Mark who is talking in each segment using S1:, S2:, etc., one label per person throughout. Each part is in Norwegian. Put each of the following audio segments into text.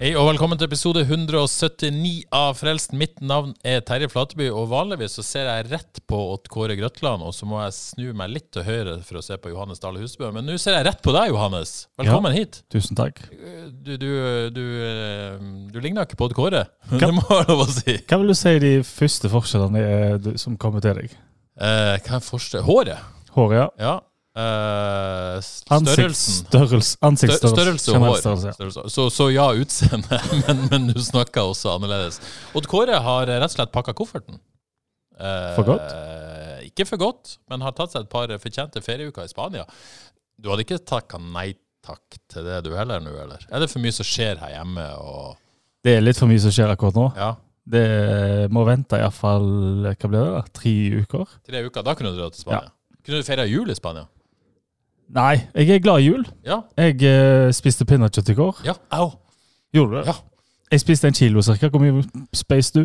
S1: Hei og velkommen til episode 179 av Frelsen. Mitt navn er Terje Flateby, og vanligvis så ser jeg rett på Odd Kåre Grøtland, og så må jeg snu meg litt til høyre for å se på Johannes Dale Husbø. Men nå ser jeg rett på deg, Johannes. Velkommen hit.
S2: Tusen takk.
S1: Du, du, du, eh, du ligner ikke på Odd Kåre, det må jeg lov å si.
S2: Hva vil du si de første forskjellene er d- som kommer til deg?
S1: Eh, hva er første? Håret.
S2: Håret, ja.
S1: Ja. Eh, s-
S2: Ansikts-
S1: størrelsen.
S2: størrelse-
S1: Stør-
S2: Ansiktsstørrelse.
S1: Størrelse og
S2: Generell
S1: hår.
S2: størrelse, ja.
S1: Størrelse. Så, så ja, utseende, men, men du snakker også annerledes. Odd Kåre har rett og slett pakka kofferten. Eh,
S2: For godt?
S1: Ikke for godt, men har tatt seg et par fortjente ferieuker i Spania. Du hadde ikke takka nei takk til det du heller nå, eller? Er det for mye som skjer her hjemme og
S2: Det er litt for mye som skjer akkurat nå.
S1: Ja,
S2: Det må vente iallfall hva blir det da? tre uker.
S1: tre uker. Da kunne du dra til Spania. Kunne du feira jul i Spania?
S2: Nei, jeg er glad i jul.
S1: Ja.
S2: Jeg eh, spiste pinnekjøtt i går.
S1: Ja. Au.
S2: Gjorde du det?
S1: Ja.
S2: Jeg spiste en kilo cirka. Hvor mye space du?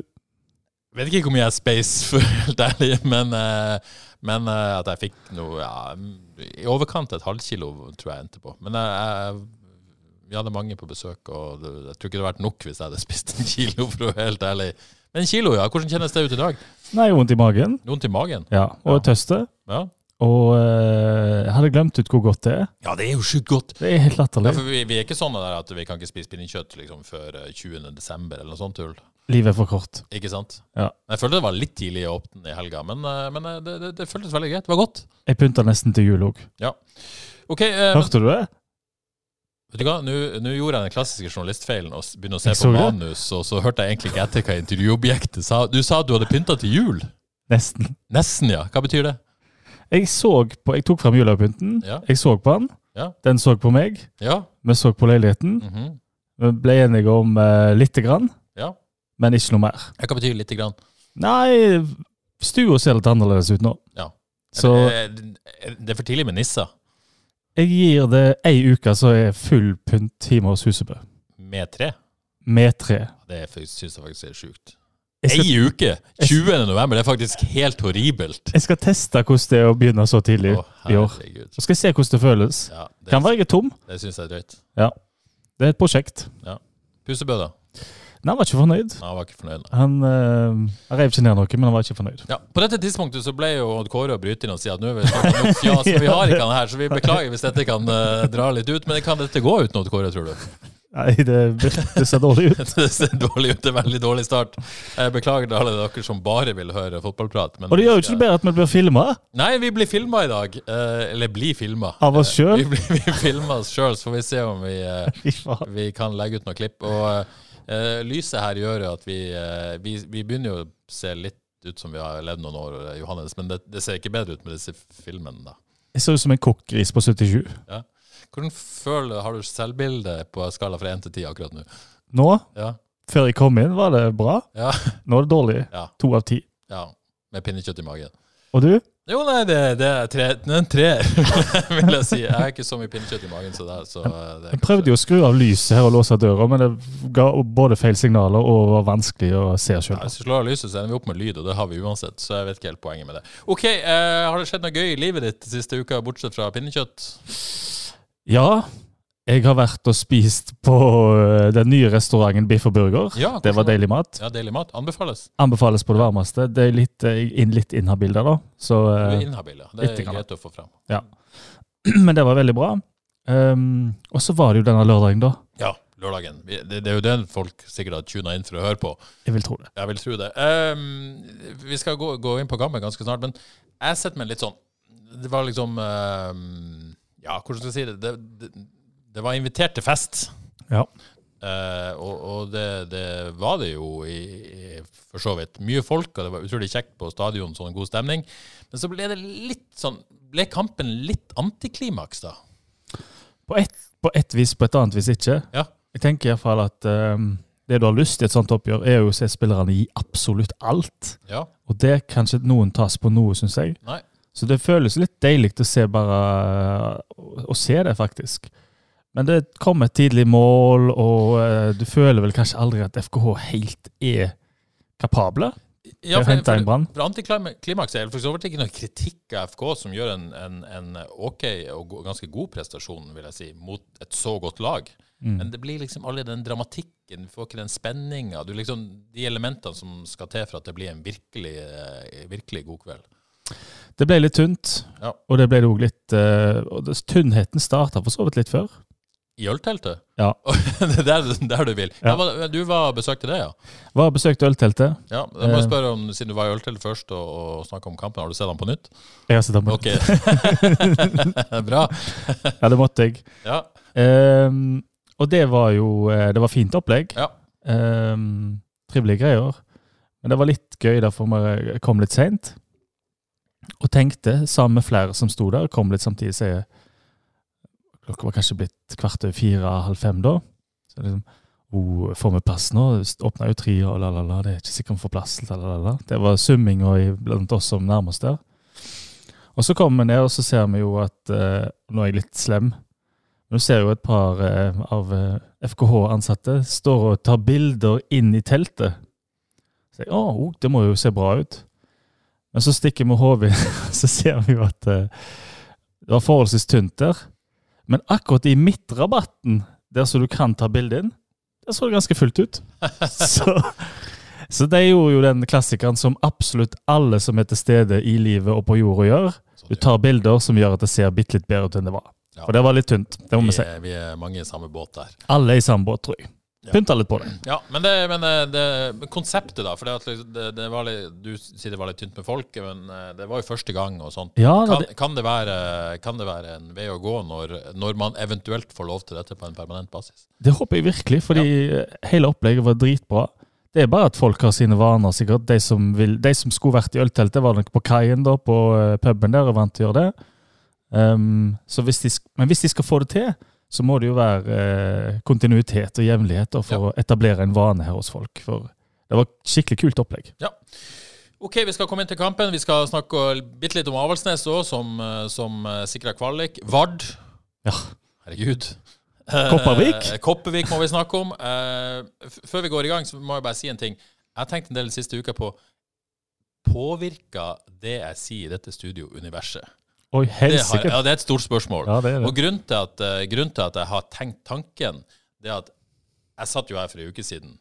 S1: Vet ikke hvor mye jeg er space, for å være helt ærlig, men, eh, men eh, at jeg fikk noe ja, I overkant et halvkilo, tror jeg endte på. Men jeg, jeg, vi hadde mange på besøk, og det, jeg tror ikke det hadde vært nok hvis jeg hadde spist en kilo, for å være helt ærlig. Men en kilo, ja. Hvordan kjennes det ut i dag?
S2: Nei, vondt i magen.
S1: Vondt i magen?
S2: Ja, Og
S1: Ja.
S2: tøste.
S1: Ja,
S2: Og eh, jeg hadde glemt ut hvor godt det er.
S1: ja det er jo sjukt godt.
S2: Det er helt
S1: Ja,
S2: latterlig.
S1: for vi, vi er ikke sånne der at vi kan ikke spise pinnekjøtt liksom, før eh, 20. desember eller noe sånt tull.
S2: Livet er for kort.
S1: Ikke sant?
S2: Ja.
S1: Jeg følte det var litt tidlig å åpne i helga, men, eh, men eh, det, det, det føltes veldig greit. Det var godt.
S2: Jeg pynta nesten til jul òg.
S1: Ok, eh, men-
S2: Hørte du det?
S1: Vet du hva, Nå nå gjorde jeg den klassiske journalistfeilen og s- begynner å se
S2: Jeg
S1: på
S2: så det.
S1: manus, og så hørte jeg egentlig ikke etter hva intervjuobjektet sa. Du sa at du hadde pynta til jul.
S2: Nesten.
S1: Nesten, ja. Hva betyr det?
S2: Jeg så på, jeg tok fram julepynten.
S1: Ja.
S2: Jeg så på den.
S1: Ja.
S2: Den så på meg.
S1: Ja.
S2: Vi så på leiligheten.
S1: mhm.
S2: Vi ble enige om eh, lite grann,
S1: ja.
S2: men ikke noe mer.
S1: Hva betyr lite grann?
S2: Nei, stua ser litt annerledes ut nå.
S1: Ja.
S2: Så
S1: Eh, Det er for tidlig med nisser.
S2: jeg gir det ei uke, så er full pynt hjemme hos Husebø.
S1: Med tre?
S2: Med tre.
S1: Det syns jeg faktisk er sjukt.
S2: Jeg skal,
S1: Ei uke! 20. november, det er faktisk helt horribelt.
S2: jeg skal teste hvordan det er å begynne så tidlig
S1: Å,
S2: i år.
S1: herregud.
S2: Så skal jeg se hvordan det føles.
S1: Ja, det
S2: Kan være jeg er tom.
S1: det syns jeg er drøyt.
S2: Det er et prosjekt.
S1: Pusebø, da?
S2: Men han var ikke fornøyd.
S1: Nei, Jeg var ikke fornøyd. nei.
S2: Han, eh, han rev ikke ned noe, men han var ikke fornøyd.
S1: Ja, På dette tidspunktet så ble jo Odd Kåre å bryte inn og si at nå er vi snart nok fjas, for vi har ikke han her, så vi beklager hvis dette kan eh, dra litt ut. Men kan dette gå uten Odd Kåre, tror du?
S2: Nei, det, det ser dårlig ut.
S1: Det ser dårlig ut, det er en veldig dårlig start. Jeg beklager til alle dere som bare vil høre fotballprat. Men
S2: Og det gjør jo ikke det bedre at vi blir filma.
S1: Nei, vi blir filma i dag. eh, Eller blir filma.
S2: Av oss
S1: Vi,
S2: selv?
S1: blir- vi filmer oss sjøl, så får vi se om vi, eh, vi kan legge ut noen klipp. Og eh, lyset her gjør jo at vi, eh, vi Vi begynner jo å se litt ut som vi har levd noen år, eh, Johannes, men det, det ser ikke bedre ut med disse filmene, da.
S2: Jeg ser ut som en kokkgris på 77.
S1: Hvordan føler, Har du selvbilde på skala fra 1 til 10 akkurat nå?
S2: Nå,
S1: Ja,
S2: før jeg kom inn, var det bra.
S1: Ja.
S2: Nå er det dårlig.
S1: Ja.
S2: To av ti.
S1: ja. Med pinnekjøtt i magen.
S2: Og du?
S1: Jo, nei, det, det er tre, det er en treer, vil jeg si. Jeg har ikke så mye pinnekjøtt i magen, så det, er- så eh, det
S2: Jeg prøvde jo å skru av lyset her og låse døra, men det ga både feil signaler og var vanskelig å se
S1: Ja,
S2: sjøl.
S1: hvis vi slår av lyset, så ender vi opp med lyd, og det har vi uansett. Så jeg vet ikke helt poenget med det. Ok, eh, Har det skjedd noe gøy i livet ditt siste uka, bortsett fra pinnekjøtt?
S2: Ja, jeg har vært og spist på eh, den nye restauranten Biff og Burger.
S1: Ja,
S2: Det var
S1: hvordan-
S2: deilig mat.
S1: Ja, Deilig mat. Anbefales.
S2: Anbefales på det varmeste. Det er litt, eh, inn, litt inhabil der, da. Så,
S1: Du
S2: eh,
S1: er inhabil, ja. Det er
S2: litt grann.
S1: greit å få fram.
S2: men det var veldig bra. Um, og så var det jo denne lørdagen, da.
S1: Ja, lørdagen. Vi- Det, det er jo den folk sikkert har tuna inn for å høre på.
S2: Jeg vil tro det.
S1: Jeg vil tro det. Ehm, vi skal gå, gå inn på gammet ganske snart, men jeg setter meg litt sånn Det var liksom ehm, Ja, hvordan skal jeg si det? Det, det, det var invitert til fest.
S2: Ja.
S1: Eh, Eh, og og det, det var det jo i, i, for så vidt. Mye folk, og det var utrolig kjekt på stadion, sånn god stemning. Men så ble det litt sånn Ble kampen litt antiklimaks, da?
S2: På ett på et vis, på et annet vis ikke.
S1: Ja.
S2: Jeg tenker iallfall at ehm, det du har lyst til i et sånt oppgjør, er jo å se spillerne gi absolutt alt.
S1: Ja.
S2: Og det kan ikke noen tas på noe, syns jeg.
S1: Nei.
S2: Så det føles litt deilig å se bare Å å se det, faktisk. Men det kom et tidlig mål, og eh, du føler vel kanskje aldri at FKH helt er kapable til
S1: Ja,
S2: å hente en brann.
S1: For antiklimaks er det for så vidt ikke noe kritikk av FK, som gjør en, en, en OK og go- ganske god prestasjon, vil jeg si, mot et så godt lag.
S2: Mm.
S1: Men det blir liksom aldri den dramatikken, du får ikke den spenninga. Liksom, de elementene som skal til for at det blir en virkelig, eh, virkelig god kveld.
S2: Det ble litt tynt,
S1: Ja.
S2: og det ble det òg litt eh, og det, Tynnheten starta for så vidt litt før.
S1: I ølteltet?
S2: Ja.
S1: det er der, der du vil.
S2: Ja.
S1: Ja. men du var besøkte det, ja.
S2: Var og besøkte ølteltet.
S1: ja jeg må
S2: Eh.
S1: spørre om, Siden du var i ølteltet først og, og snakka om kampen, har du sett den på nytt?
S2: Jeg har sett ham på
S1: Ok. Bra.
S2: Ja, det måtte jeg.
S1: Ja.
S2: Ehm, og det var jo eh, Det var fint opplegg.
S1: Ja.
S2: Ehm, trivelige greier. Men det var litt gøy, derfor vi kom litt seint. Og tenkte, sammen med flere som sto der, kom litt samtidig, sier Klokka var kanskje blitt kvart over fire-halv fem da. Så liksom oh, Får vi plass nå? Åpna jo tre, og la, la, la. Det er ikke sikkert vi får plass. La, la, la, la. Det var summinga i- blant oss som nærmest der. Og så kommer vi ned, og så ser vi jo at eh, Nå er jeg litt slem. Men Du ser jo et par eh, av FKH-ansatte står og tar bilder inn i teltet. Så jeg, «Å, oh, det må jo se bra ut. Men så stikker vi hodet inn, så ser vi jo at eh, det var forholdsvis tynt der. Men akkurat i midtrabatten, der så du kan ta bilde inn, der så det ganske fullt ut. Så, så de gjorde jo den klassikeren som absolutt alle som er til stede i livet og på jorda gjør.
S1: Sånn,
S2: Du tar bilder som gjør at det ser bitte litt bedre ut enn det var.
S1: Ja.
S2: For det var litt tynt. Det må vi
S1: Vi
S2: si.
S1: er, vi er mange i samme båt der.
S2: Alle i samme båt, tror jeg. Pynta litt på det.
S1: Ja, Men, det, men det, det, men konseptet, da. For det at liksom det, det var litt, du sier det var litt tynt med folk, men eh, det var jo første gang og sånt.
S2: Ja,
S1: Kan,
S2: det,
S1: kan, det være, kan det være en vei å gå når, når man eventuelt får lov til dette på en permanent basis?
S2: det håper jeg virkelig, fordi eh, hele opplegget var dritbra. Det er bare at folk har sine vaner, sikkert. De som, vil, de som skulle vært i ølteltet, var nok på kaien, da, på eh, puben der, og vant til å gjøre det. Ehm, så hvis de, sk- men hvis de skal få det til, så må det jo være eh, kontinuitet og jevnlighet da, for
S1: Ja.
S2: å etablere en vane her hos folk. For det var et skikkelig kult opplegg.
S1: OK, vi skal komme inn til kampen. Vi skal snakke bitte litt om Avaldsnes òg, som, eh, som eh, sikra kvalik. Vard.
S2: Ja.
S1: Herregud.
S2: Kopervik?
S1: Eh, Kopervik må vi snakke om. Eh, f- før vi går i gang, så må jeg bare si en ting. Jeg har tenkt en del den siste uka på Påvirker det jeg sier i dette studio, universet?
S2: Oi,
S1: Det, har,
S2: helsike.
S1: ja, det er et stort spørsmål.
S2: Ja, det er det.
S1: Og grunnen til, at, eh, grunnen til at jeg har tenkt tanken, det er at jeg satt jo her for en uke siden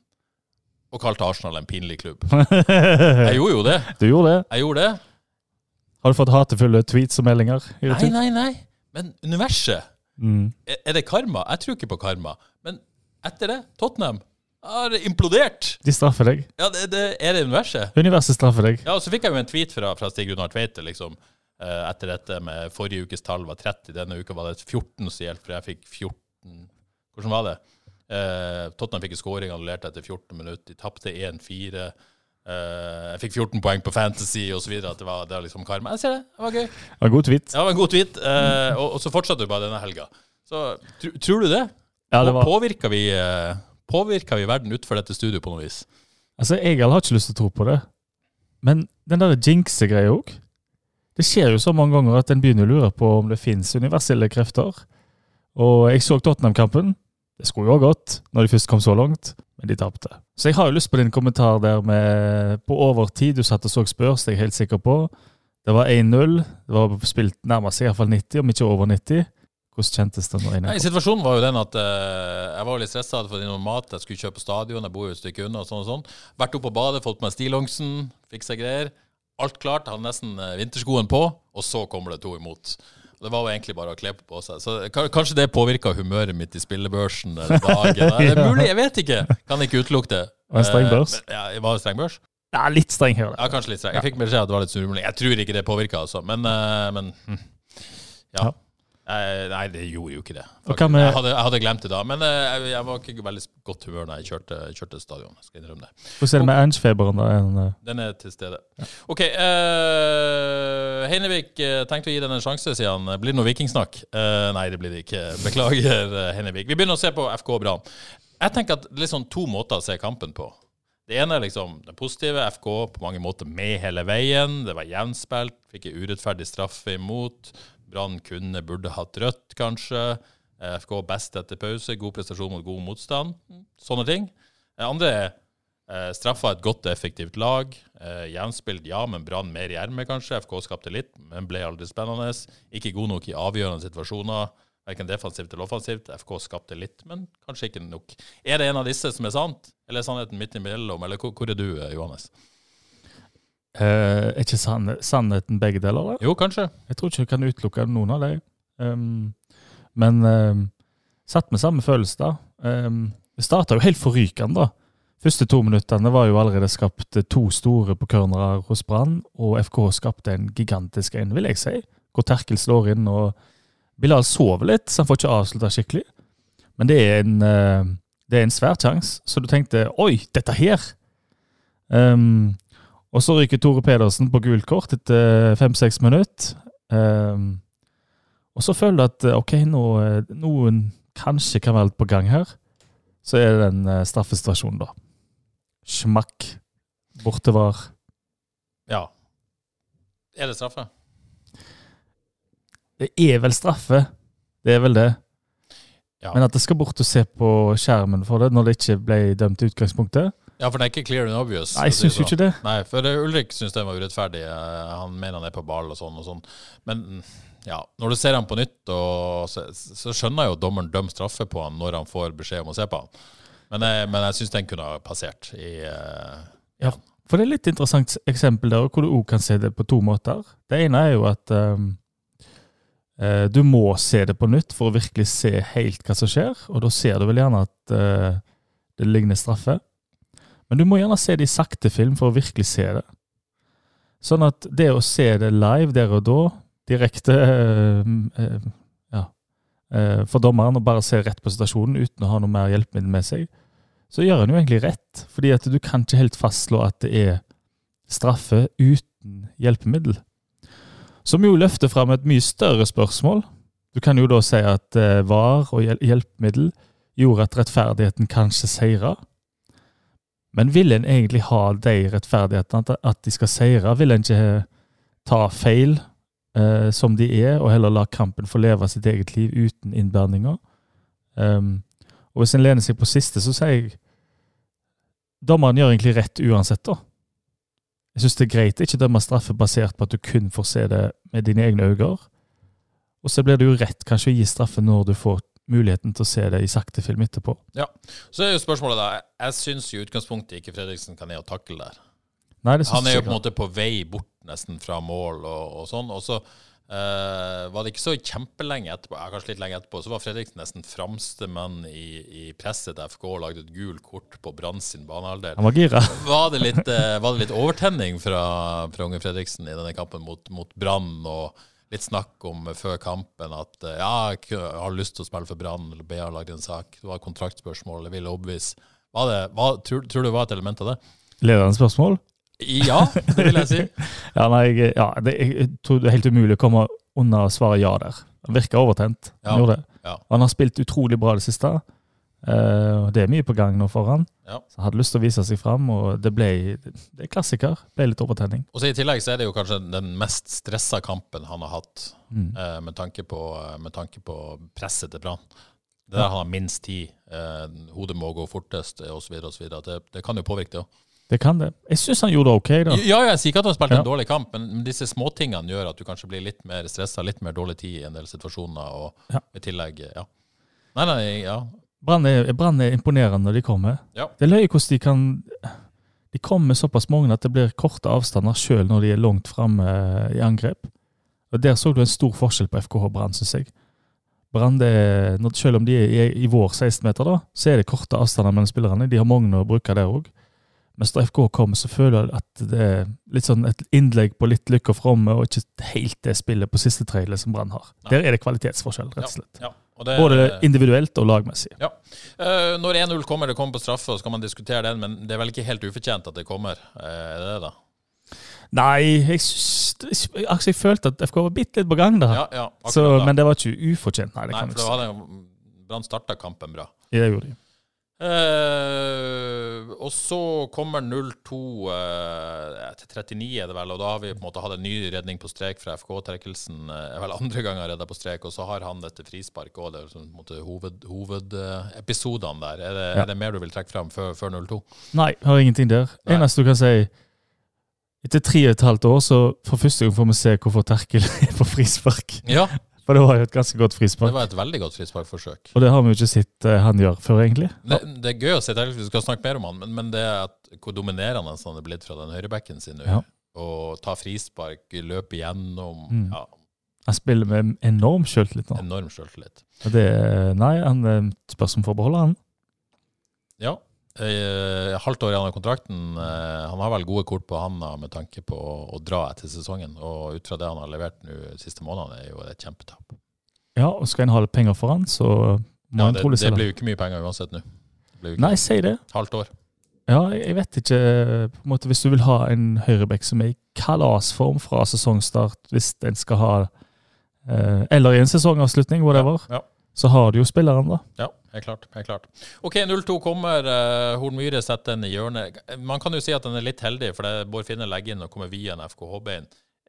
S1: og kalte Arsenal en pinlig klubb. Jeg gjorde jo det.
S2: Du gjorde det.
S1: Jeg gjorde det.
S2: Har du fått hatefulle tweets og meldinger? i
S1: Nei,
S2: retur?
S1: nei, nei. Men universet
S2: Mm.
S1: Er er det karma? Jeg tror ikke på karma. Men etter det, Tottenham har implodert.
S2: De straffer deg.
S1: Ja, det, det, Er det universet?
S2: Universet straffer deg.
S1: Ja, og Så fikk jeg jo en tweet fra, fra Stig Runar Tveite liksom, eh, etter dette med forrige ukes tall var 30, denne uka var det 14 som gjaldt, for jeg fikk 14 Hvordan var det? Eh, Tottenham fikk en scoring annullert etter 14 minutter, de tapte 1-4. eh, jeg fikk 14 poeng på Fantasy osv. At det var, det var liksom karma. Jeg ser det. Det var gøy.
S2: Det var en god tweet.
S1: Ja, det var en god tweet. eh, og, og så fortsatte du bare denne helga. Så tr tror du det?
S2: Ja,
S1: Og
S2: det var,
S1: Påvirker vi, eh, påvirker vi verden utenfor dette studioet på noe vis?
S2: altså, jeg har ikke lyst til å tro på det. Men den der jinxe-greia òg Det skjer jo så mange ganger at en begynner å lure på om det fins universelle krefter. Og jeg så Tottenham-kampen. Det skulle jo ha gått når de først kom så langt, men de tapte. Så jeg har jo lyst på din kommentar der med på overtid. Du satt og så Spurs, det er jeg helt sikker på. Det var 1-0. Det var spilt nærmest i hvert fall 90, om ikke over 90. Hvordan kjentes det nå?
S1: Nei, Situasjonen var jo den at eh, jeg var litt stressa, hadde fått inn noe mat, jeg skulle kjøpe på stadion, jeg bor jo et stykke unna og sånn og sånn. Vært oppe på badet, fått meg stillongsen, fiksa greier. Alt klart, hadde nesten eh, vinterskoen på, og så kommer det to imot. Og Det var jo egentlig bare å kle på seg. Så eh, ka- Kanskje det påvirka humøret mitt i spillebørsen eller dagen. Det er mulig, jeg vet ikke. Kan ikke utelukke det.
S2: Var det streng børs?
S1: Eh, Ja, var det streng børs?
S2: Ja, litt streng her.
S1: Ja, kanskje litt streng. Jeg fikk beskjed at det var litt snurremulling. Jeg tror ikke det påvirka, altså. Men, eh, men hm. ja.
S2: Ja.
S1: Eh, Nei, det gjorde jo ikke det.
S2: Og hva med-
S1: Jeg, hadde, jeg hadde glemt det da, men eh, jeg, jeg var ikke i veldig godt humør da jeg kjørte, kjørte stadion. Jeg skal innrømme det.
S2: Hvordan er det med Ange-feberen? da? Er den, eh,
S1: Den er til stede. OK. eh, Heinevik eh, tenkte å gi den en sjanse, sier han. Blir det noe vikingsnakk? Eh, nei, det blir det ikke. Beklager, eh, Heinevik. Vi begynner å se på FK Brann. Jeg tenker at det er liksom to måter å se kampen på. Det ene er liksom det positive. FK på mange måter med hele veien. Det var jevnspilt. Fikk en urettferdig straffe imot. Brann kunne, burde hatt rødt, kanskje. Eh, FK best etter pause. God prestasjon mot god motstand. Sånne ting. Det andre er eh, straffa et godt og effektivt lag. Eh, jevnspilt, ja, men Brann mer i ermet, kanskje. FK skapte litt, men ble aldri spennende. Ikke god nok i avgjørende situasjoner. Verken defensivt eller offensivt. FK skapte litt, men kanskje ikke nok. Er det en av disse som er sant, eller er sannheten midt imellom? Eller hvor, hvor er du, eh, Johannes?
S2: eh, er ikke sann- sannheten begge deler? Eller?
S1: Jo, kanskje.
S2: Jeg tror ikke du kan utelukke noen av dem. Um, men um, satt med samme følelse, da. Um, det starta jo helt forrykende, da. første to minuttene var jo allerede skapt to store på cornerer hos Brann, og FK skapte en gigantisk en, vil jeg si. Hvor Terkel slår inn og Bilal sover litt, så han får ikke avslutta skikkelig. Men det er en, eh, det er en svær sjanse, så du tenkte 'oi, dette her'. Um, og så ryker Tore Pedersen på gult kort etter fem-seks minutter. Um, og så føler du at eh, ok, nå, eh, noen kanskje kan være litt på gang her. Så er det den eh, straffestasjonen, da. Smakk. Bortevar.
S1: Ja. Er det straffe?
S2: Det er vel straffe. Det er vel det.
S1: Ja.
S2: Men at jeg skal bort og se på skjermen for det, når det ikke ble dømt i utgangspunktet
S1: Ja, for det er ikke clear and obvious.
S2: Nei, jeg syns jo ikke det.
S1: Nei, for eh, Ulrik syns den var urettferdig. Eh, Han mener han er på ball og sånn og sånn. Men mm, ja, når du ser han på nytt, og så, så skjønner jo dommeren døm straffe på han når han får beskjed om å se på han. Men jeg, men jeg syns den kunne ha passert i eh,
S2: For det er et litt interessant eksempel der, hvor du òg kan se det på to måter. Det ene er jo at ehm, eh, du må se det på nytt for å virkelig se helt hva som skjer, og da ser du vel gjerne at eh, det ligner straffe. Men du må gjerne se det i sakte film for å virkelig se det. Sånn at det å se det live der og da, direkte ehm, eh, ja, eh, for dommeren, og bare se rett på situasjonen uten å ha noe mer hjelpemiddel med seg, så gjør han jo egentlig rett. Fordi at du kan ikke helt fastslå at det er straffe uten hjelpemiddel. Som jo løfter fram et mye større spørsmål. Du kan jo da si at eh, var og hjel- hjelpemiddel gjorde at rettferdigheten kanskje seira. Men vil en egentlig ha de rettferdighetene, at- at de skal seire? Vil en ikke ta feil eh, som de er, og heller la kampen få leve sitt eget liv uten innblandinger? Um, og hvis en lener seg på siste, så sier jeg Dommeren gjør egentlig rett uansett, da. Jeg syns det er greit å ikke dømme straffe basert på at du kun får se det med dine egne øyne. Og så blir det jo rett kanskje å gi straffe når du får muligheten til å se det i sakte film etterpå.
S1: Så er jo spørsmålet, da. Jeg syns i utgangspunktet ikke Fredriksen kan ned og takle der.
S2: Nei, det synes
S1: Han er jo
S2: jeg
S1: på en
S2: ikke.
S1: måte på vei bort nesten fra mål og, og sånn. Og så eh, var det ikke så kjempelenge etterpå, ja, kanskje litt lenge etterpå, så var Fredriksen nesten fremste mann i, i presset til FK og lagde et gult kort på Brann sin banehalvdel.
S2: Han var gira.
S1: Var det litt, eh, var det litt overtenning fra, fra Unge Fredriksen i denne kampen mot, mot Brann? og Litt snakk om før kampen at eh, ja, jeg ku- har lyst til å spille for Brann, eller BA har lagd en sak, det var kontraktspørsmål, jeg ville overbevise. Var det, var, tror, tror du det var et element av det?
S2: Ledende spørsmål?
S1: Ja, det vil jeg si.
S2: Ja, nei, jeg, ja det, jeg tror det er helt umulig å komme unna svaret ja der. Han virka overtent.
S1: Ja.
S2: Han gjorde det.
S1: Ja.
S2: Og Han har spilt utrolig bra det siste. Eh, og det er mye på gang nå for han.
S1: Ja.
S2: Så han hadde lyst til å vise seg fram, og det ble det er klassiker. Ble litt overtenning.
S1: Og så I tillegg så er det jo kanskje den mest stressa kampen han har hatt,
S2: Mm.
S1: eh, med, tanke på, med tanke på presset til Brann. Det der han har minst tid, eh, hodet må gå fortest eh, og så videre, og så videre. Det, det kan jo påvirke det òg.
S2: Det kan det. Jeg syns han gjorde det ok, da.
S1: Ja, jeg sier ikke at han spilte
S2: Ja.
S1: en dårlig kamp, men men disse småtingene gjør at du kanskje blir litt mer stressa, litt mer dårlig tid i en del situasjoner, og
S2: Ja.
S1: i tillegg eh, Ja. Nei, nei, ja.
S2: Brann er, Brann er imponerende når de kommer.
S1: Ja.
S2: Det er løye hvordan de kan De kommer såpass mange at det blir korte avstander sjøl når de er langt framme i angrep. Og Der så du en stor forskjell på FKH Brann, syns jeg. Brann, det er, når, selv om de er i, i vår 16-meter, da, så er det korte avstander mellom spillerne. De har mange å bruke der òg. Mens da FK kommer, så føler jeg at det er litt sånn et innlegg på litt lykke og fromme, og ikke helt det spillet på siste trailer som Brann har.
S1: Nei.
S2: Der er det kvalitetsforskjell, rett og slett.
S1: Ja, og det,
S2: Både individuelt og lagmessig.
S1: Eh, når 1-0 kommer, det kommer på straffe, og så kan man diskutere den, men det er vel ikke helt ufortjent at det kommer? Eh, er det det da?
S2: Nei, jeg, syns- jeg, altså, jeg følte at FK var bitte litt på gang der.
S1: Ja, ja, akkurat
S2: så,
S1: da.
S2: men det var ikke ufortjent. Nei, det
S1: Nei,
S2: kan
S1: for
S2: jeg
S1: da
S2: ikke si.
S1: hadde jo- Brann starta kampen bra.
S2: Ja, Det gjorde de.
S1: Eh, og så kommer 0-2 eh, til 39, er det vel, og da har vi på en måte hatt en ny redning på strek fra FK-trekkelsen. Eh, vel andre ganger redda på strek, og så har han dette frisparket òg. Det er liksom, på en måte hovedepisodene hoved, eh, episodene der. Er det,
S2: Ja.
S1: er det mer du vil trekke fram før, før 0-2?
S2: Nei, har ingenting der.
S1: Nei.
S2: Eneste du kan si Etter tre og et halvt år, så for første gang får vi se hvorfor Terkel er på frispark.
S1: Ja,
S2: For det var jo et ganske godt
S1: det
S2: frispark.
S1: var et veldig godt frisparkforsøk.
S2: Og det har vi jo ikke sett eh, han gjør før, egentlig.
S1: Det, det er gøy å se til, vi skal snakke mer om han, men, men det er at hvor dominerende han er blitt fra den høyrebekken sin nå.
S2: Ja.
S1: Og ta frispark, løpe gjennom.
S2: Mm.
S1: Ja,
S2: Han spiller med enorm sjøltillit nå.
S1: enorm selvtillit.
S2: Og Det, er- nei, han eh, spørs om får beholde han.
S1: Ja. Eh, halvt år igjen av kontrakten. Eh, han har vel gode kort på handa med tanke på å, å dra etter sesongen. Og ut fra det han har levert nå de siste månedene, er jo det et kjempetap.
S2: Ja, og skal en ha litt penger for han, så må
S1: Ja,
S2: han
S1: det,
S2: trolig
S1: det
S2: selge.
S1: blir jo ikke mye penger uansett nå. Det blir jo ikke
S2: Nei, si det.
S1: Halvt år.
S2: Ja, jeg jeg vet ikke på en måte Hvis du vil ha en høyrebekk som er i kalasform fra sesongstart, hvis en skal ha eh, Eller i en sesongavslutning, whatever,
S1: Ja, ja.
S2: så har du jo spilleren, da.
S1: Ja, helt klart. Helt klart. OK, 0-2 kommer. eh, Horn Myhre setter den i hjørnet. Man kan jo si at den er litt heldig, for det er Bård Finne legger inn og kommer via en FKH-bein.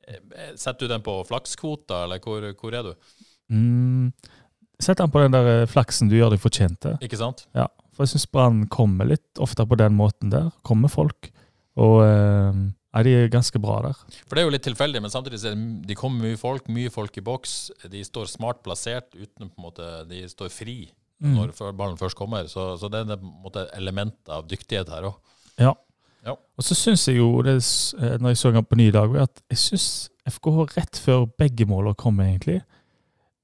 S1: Eh, Setter du den på flakskvota, eller hvor, hvor er du?
S2: Mm. Sett an på den der eh, flaksen du gjør deg fortjent til.
S1: Ikke sant?
S2: Ja, for jeg syns Brann kommer litt ofte på den måten der. Kommer folk. Og eh, Nei, de er ganske bra der.
S1: For det er jo litt tilfeldig, men samtidig så er det, de kommer mye folk, mye folk i boks. De står smart plassert, uten på en måte, de står fri
S2: Mm.
S1: når før- ballen først kommer. Så, så det er det, på en måte elementet av dyktighet her òg.
S2: Ja.
S1: Ja.
S2: Og så syns jeg jo, det, s- eh, når jeg så han på ny dag, at jeg syns FKH rett før begge målene kom, egentlig,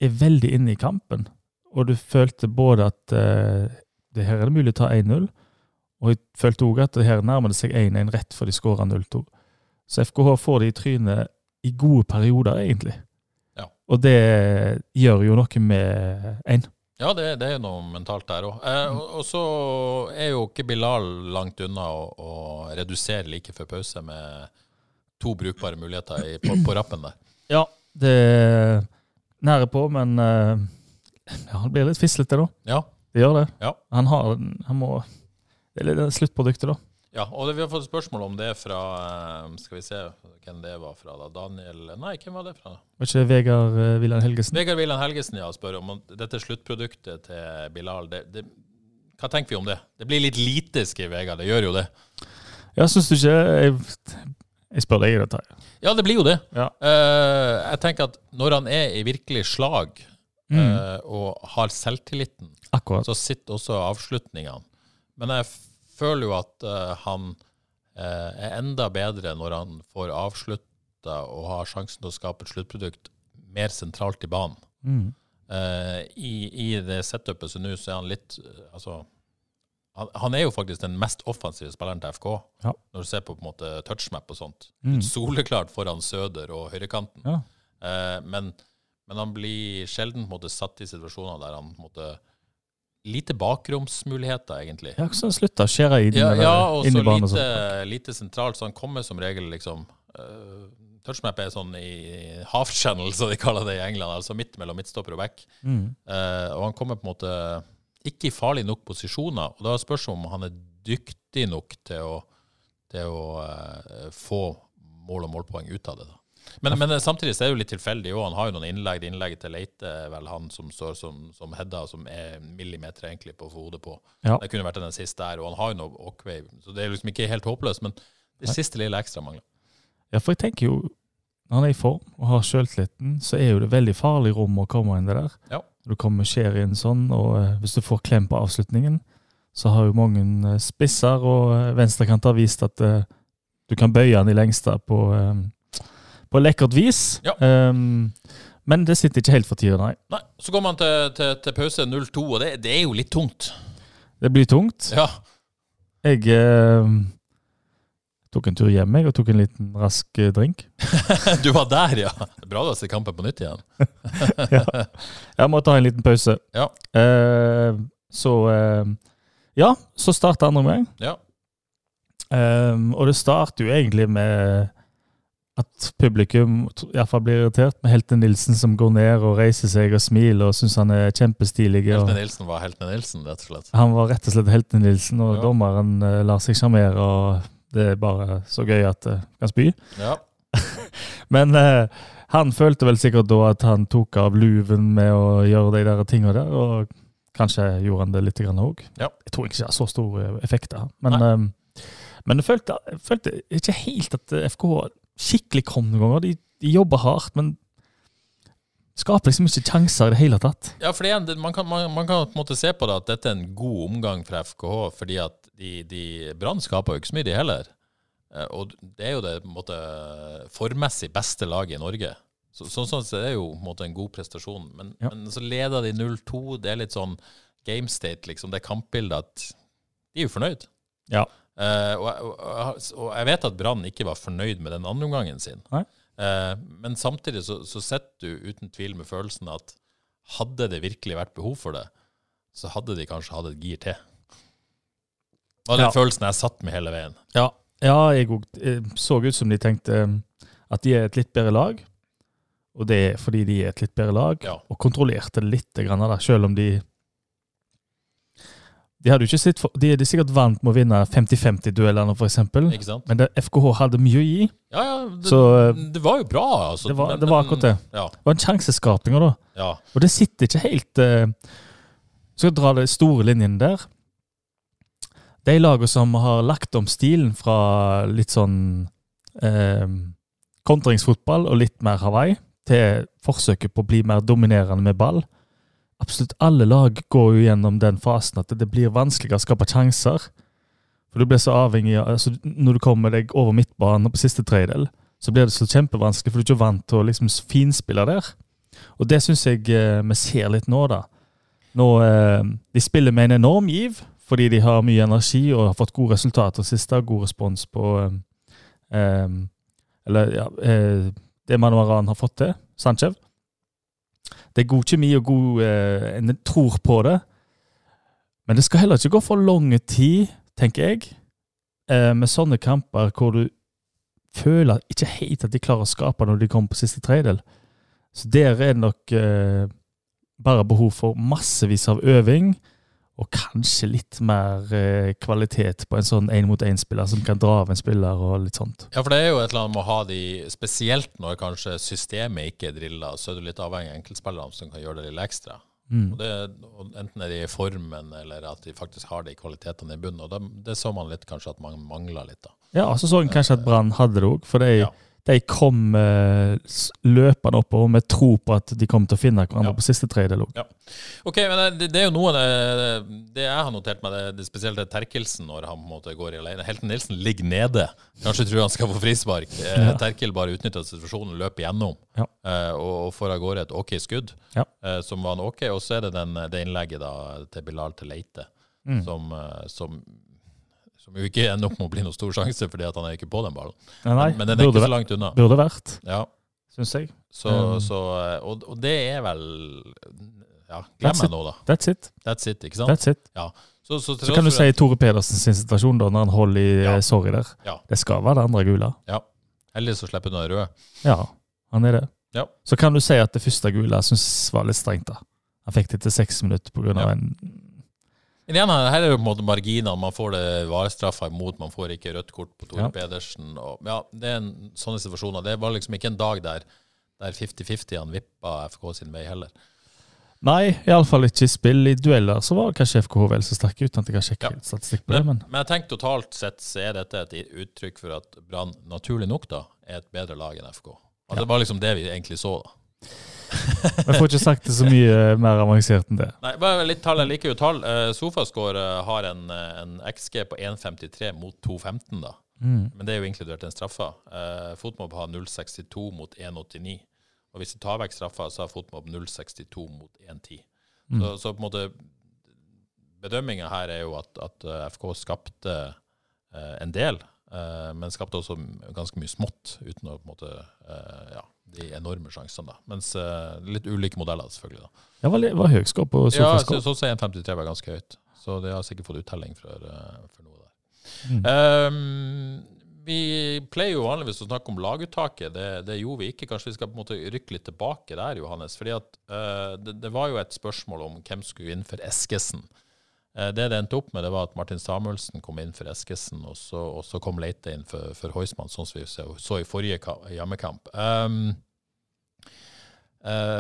S2: er veldig inne i kampen. Og du følte både at eh, det her er det mulig å ta 1-0, og jeg følte òg at det her nærmer det seg 1-1 rett før de skårer 0-2. Så FKH får det i trynet i gode perioder, egentlig.
S1: Ja.
S2: Og det gjør jo noe med en.
S1: Ja, det, det er jo noe mentalt der òg. Eh, og, og så er jo ikke Bilal langt unna å, å redusere like før pause med to brukbare muligheter i, på, på rappen der.
S2: Ja, det er nære på, men eh, ja, han blir litt fislete, da.
S1: Ja,
S2: Det gjør det.
S1: Ja.
S2: Han har han må, Det er litt- det er sluttproduktet, da.
S1: Ja, og det, vi har fått spørsmål om det fra eh, Skal vi se hvem det var fra, da. Daniel Nei, hvem var det fra?
S2: Var ikke Vegard eh, Wilhelm Helgesen?
S1: Vegard Wilhelm Helgesen ja, spør om om dette sluttproduktet til Bilal. Det, det, hva tenker vi om det? Det blir litt lite, skriver Vegard. Det gjør jo det.
S2: Ja, syns du ikke Jeg, jeg spør deg i dette. her.
S1: Ja, det blir jo det.
S2: Ja.
S1: Eh, jeg tenker at når han er i virkelig slag eh, og har selvtilliten,
S2: Akkurat.
S1: så sitter også avslutningene. Men jeg f- føler jo at eh, han eh, er enda bedre når han får avslutta og har sjansen til å skape et sluttprodukt mer sentralt i banen.
S2: Mm.
S1: Eh, i, I det setupet så nå så er han litt eh, Altså, han, han er jo faktisk den mest offensive spilleren til FK,
S2: Ja.
S1: når du ser på på en måte touchmap og sånt.
S2: Mm.
S1: Soleklart foran Søder og høyrekanten.
S2: Ja.
S1: Eh, men, men han blir sjelden på en måte satt i situasjoner der han på en måte Lite bakromsmuligheter, egentlig.
S2: ja, så slutta å skjære i den
S1: Ja,
S2: eller
S1: ja og
S2: inn
S1: så
S2: i banen. og
S1: lite,
S2: sånn.
S1: lite sentralt, så han kommer som regel liksom eh, Touchmap er sånn i half channel, som de kaller det i England, altså midt mellom midtstopper og back.
S2: Mm.
S1: Eh, og han kommer på en måte ikke i farlig nok posisjoner. Og da spørs det om han er dyktig nok til å, til å eh, få mål og målpoeng ut av det. da. Men, men samtidig så er det jo litt tilfeldig òg. Han har jo noen innlegg. Det innlegget til Leite er vel han som står som, som Hedda, som er millimeter egentlig på å få hodet på.
S2: Ja.
S1: Det kunne vært en assist der, og han har jo noe Åkvei, så det er liksom ikke helt håpløst. Men det siste lille ekstra mangler.
S2: ja, for jeg tenker jo Når han er i form og har sjøltilliten, så er jo det veldig farlig rom å komme inn det der.
S1: Ja.
S2: Du kommer skjære inn sånn, og eh, hvis du får klem på avslutningen, så har jo mange eh, spisser og eh, venstrekanter vist at eh, du kan bøye den i lengste på, eh, på lekkert vis.
S1: Ja.
S2: Ehm, men det sitter ikke helt for tida, nei.
S1: Nei, Så går man til, til, til pause 0-2, og det, det er jo litt tungt.
S2: Det blir tungt.
S1: Ja.
S2: Jeg eh, Tok en tur hjem jeg, og tok en liten rask eh, drink.
S1: Du var der, ja! Bra du har sett kampen på nytt igjen.
S2: ja. Jeg må ta en liten pause.
S1: Ja.
S2: Eh, så eh, Ja, så starta andre omgang.
S1: Ja.
S2: Eh, og det starter jo egentlig med at publikum iallfall blir irritert med Helte Nilsen som går ned og reiser seg og smiler og syns han er kjempestilig. og-
S1: Heltene Nilsen var Heltene Nilsen, rett og slett.
S2: Han var rett og slett helten Nilsen, og
S1: Ja.
S2: dommeren eh, lar seg sjarmere. og Det er bare så gøy at det kan spy.
S1: Ja.
S2: Men eh, han følte vel sikkert da at han tok av luven med å gjøre de der tinga der, og kanskje gjorde han det litt òg.
S1: Ja.
S2: Jeg tror ikke det har så stor eh, effekt, da. Men,
S1: Nei.
S2: eh, men jeg, følte, jeg følte ikke helt at eh, FK skikkelig kom noen ganger. De, de jobber hardt, men skaper liksom ikke sjanser i det hele tatt.
S1: Ja, for igjen, det- man kan, man, man kan på en måte se på det at dette er en god omgang fra FKH, fordi at de, de Brann skaper jo ikke så mye, de heller. Eh, Og det er jo det på en måte, formessig beste laget i Norge. Så, sånn sånn så er det jo på en måte en god prestasjon. Men,
S2: Ja.
S1: men så leder de 0-2. Det er litt sånn game state, liksom. Det er kampbildet at de er jo fornøyd.
S2: Ja.
S1: Eh, og, jeg- og, jeg- og jeg vet at Brann ikke var fornøyd med den andre omgangen sin.
S2: Nei.
S1: Eh, men samtidig så, så sitter du uten tvil med følelsen at hadde det virkelig vært behov for det, så hadde de kanskje hatt et gir til. Og den
S2: Ja.
S1: følelsen jeg satt med hele veien.
S2: Ja, ja jeg òg. Så ut som de tenkte eh, at de er et litt bedre lag. Og det er fordi de er et litt bedre lag,
S1: Ja.
S2: og kontrollerte litt, grann, da, selv om de De hadde jo ikke sitt for, de er sikkert vant med å vinne 50-50-duellene, f.eks.,
S1: Ikke sant?
S2: men det FKH hadde mye å gi.
S1: Ja, ja. Det,
S2: Så eh,
S1: det var jo bra, altså.
S2: det var,
S1: men-
S2: det var akkurat det.
S1: Ja.
S2: Det var en sjanseskaping, da.
S1: ja.
S2: Og det sitter ikke helt eh, Skal jeg dra de store linjene der. De lagene som har lagt om stilen fra litt sånn eh, kontringsfotball og litt mer Hawaii, til forsøket på å bli mer dominerende med ball. Absolutt alle lag går jo gjennom den fasen at det blir vanskeligere å skape sjanser. For du blir så avhengig av, altså Når du kommer deg over midtbanen og på siste tredjedel, så blir det så kjempevanskelig, for du er ikke vant til å liksom finspille der. Og det syns jeg eh, vi ser litt nå, da. Nå, eh, de spiller med en enorm giv, fordi de har mye energi og har fått gode resultater sist. og God respons på eh, eh, Eller ja, eh, det Manuaran har fått til. Sanchez. Det er god kjemi og god eh, En tror på det. Men det skal heller ikke gå for lang tid, tenker jeg, eh, med sånne kamper hvor du føler ikke helt at de klarer å skape når de kommer på siste tredjedel. Så der er det nok eh, bare behov for massevis av øving, og kanskje litt mer eh, kvalitet på en sånn én-mot-én-spiller som kan dra av en spiller og litt sånt.
S1: Ja, for det er jo et eller annet med å ha de, spesielt når kanskje systemet ikke er drilla, så er du litt avhengig av enkeltspillerne som kan gjøre det lille ekstra.
S2: Mm.
S1: Og det, og enten er de i formen, eller at de faktisk har de kvalitetene i bunnen. Og det, det så man litt kanskje at man mangla litt, da.
S2: Ja, og så så en kanskje at Brann hadde det òg, for de,
S1: Ja.
S2: de kom eh, s- løpende oppover med tro på at de kom til å finne hverandre
S1: Ja.
S2: på siste tredjedel òg.
S1: Ok, men det, det er jo noe av det, det jeg har notert meg, det, det spesielt det Terkelsen når han på en måte går i alene. Helten Nilsen ligger nede. Kanskje tror han skal få frispark. Eh, Terkel bare utnytter situasjonen, løper gjennom
S2: Ja.
S1: eh, og, og får av gårde et ok skudd,
S2: Ja.
S1: eh, som var en ok. Og så er det den, det innlegget da til Bilal til Leite,
S2: Mm.
S1: som, eh, som, som jo ikke ender opp med å bli noen stor sjanse, fordi at han er ikke på den ballen.
S2: Nei, nei,
S1: men den er
S2: burde,
S1: ikke så
S2: vært,
S1: langt unna.
S2: burde vært,
S1: Ja,
S2: syns jeg.
S1: så,
S2: Um.
S1: så, eh, og, og det er vel ja,
S2: That's
S1: Glem meg nå, da.
S2: That's it.
S1: That's it, ikke sant?
S2: That's it.
S1: Så, så,
S2: Så kan du si Tore Pedersen sin situasjon da, når han holder i
S1: Ja.
S2: eh, sorry der.
S1: Ja.
S2: Det skal være det andre gule.
S1: Heldig så slipper du den røde.
S2: Ja, han er det.
S1: Ja.
S2: Så kan du si at det første gule jeg syns var litt strengt. da. Han fikk det til seks minutter pga.
S1: Ja.
S2: av en
S1: Men igjen, her er det jo på en måte marginene. Man får det varestraffa imot, man får ikke rødt kort på Tore
S2: Ja.
S1: Pedersen. Og, ja, det er en, sånne situasjoner. Det var liksom ikke en dag der der 50-50 han vippa FK sin vei heller.
S2: Nei, iallfall ikke i spill. I dueller så var kanskje FKH vel så sterke, uten at jeg har sjekket
S1: Ja.
S2: statistikk på det.
S1: Men,
S2: men...
S1: men jeg tenker totalt sett så er dette et uttrykk for at Brann naturlig nok da er et bedre lag enn FK. Altså, Det var liksom det vi egentlig så, da.
S2: Jeg får ikke sagt det så mye eh, mer avansert enn det.
S1: Nei, bare litt tall. Jeg liker jo tall. Eh, Sofascore eh, har en, eh, en XG på 1,53 mot 2,15, da. Men det er jo inkludert den straffa. Eh, Fotmob har 0,62 mot 1,89. Og hvis du tar vekk straffa, så har Fotmob 0,62 mot 1,10. Så, så på en måte Bedømminga her er jo at, at eh, FK skapte eh, en del, Eh, men skapte også ganske mye smått, uten å på en måte eh, ja, de enorme sjansene. da. Mens eh, litt ulike modeller, selvfølgelig. da.
S2: Det var, litt- var høy skår på
S1: Ja,
S2: sofaskår.
S1: så, så, så 1,53 var ganske høyt. Så de har sikkert fått uttelling for, eh, for noe der.
S2: Mm.
S1: Ehm, vi pleier jo vanligvis å snakke om laguttaket. Det, det gjorde vi ikke. Kanskje vi skal på en måte rykke litt tilbake der, Johannes. fordi at eh, det, det var jo et spørsmål om hvem skulle inn for Eskesen. Eh, det det endte opp med, det var at Martin Samuelsen kom inn for Eskesen, og så, og så kom Leite inn for, for Heusmann, sånn som vi så, så i forrige ka- hjemmekamp. Ehm,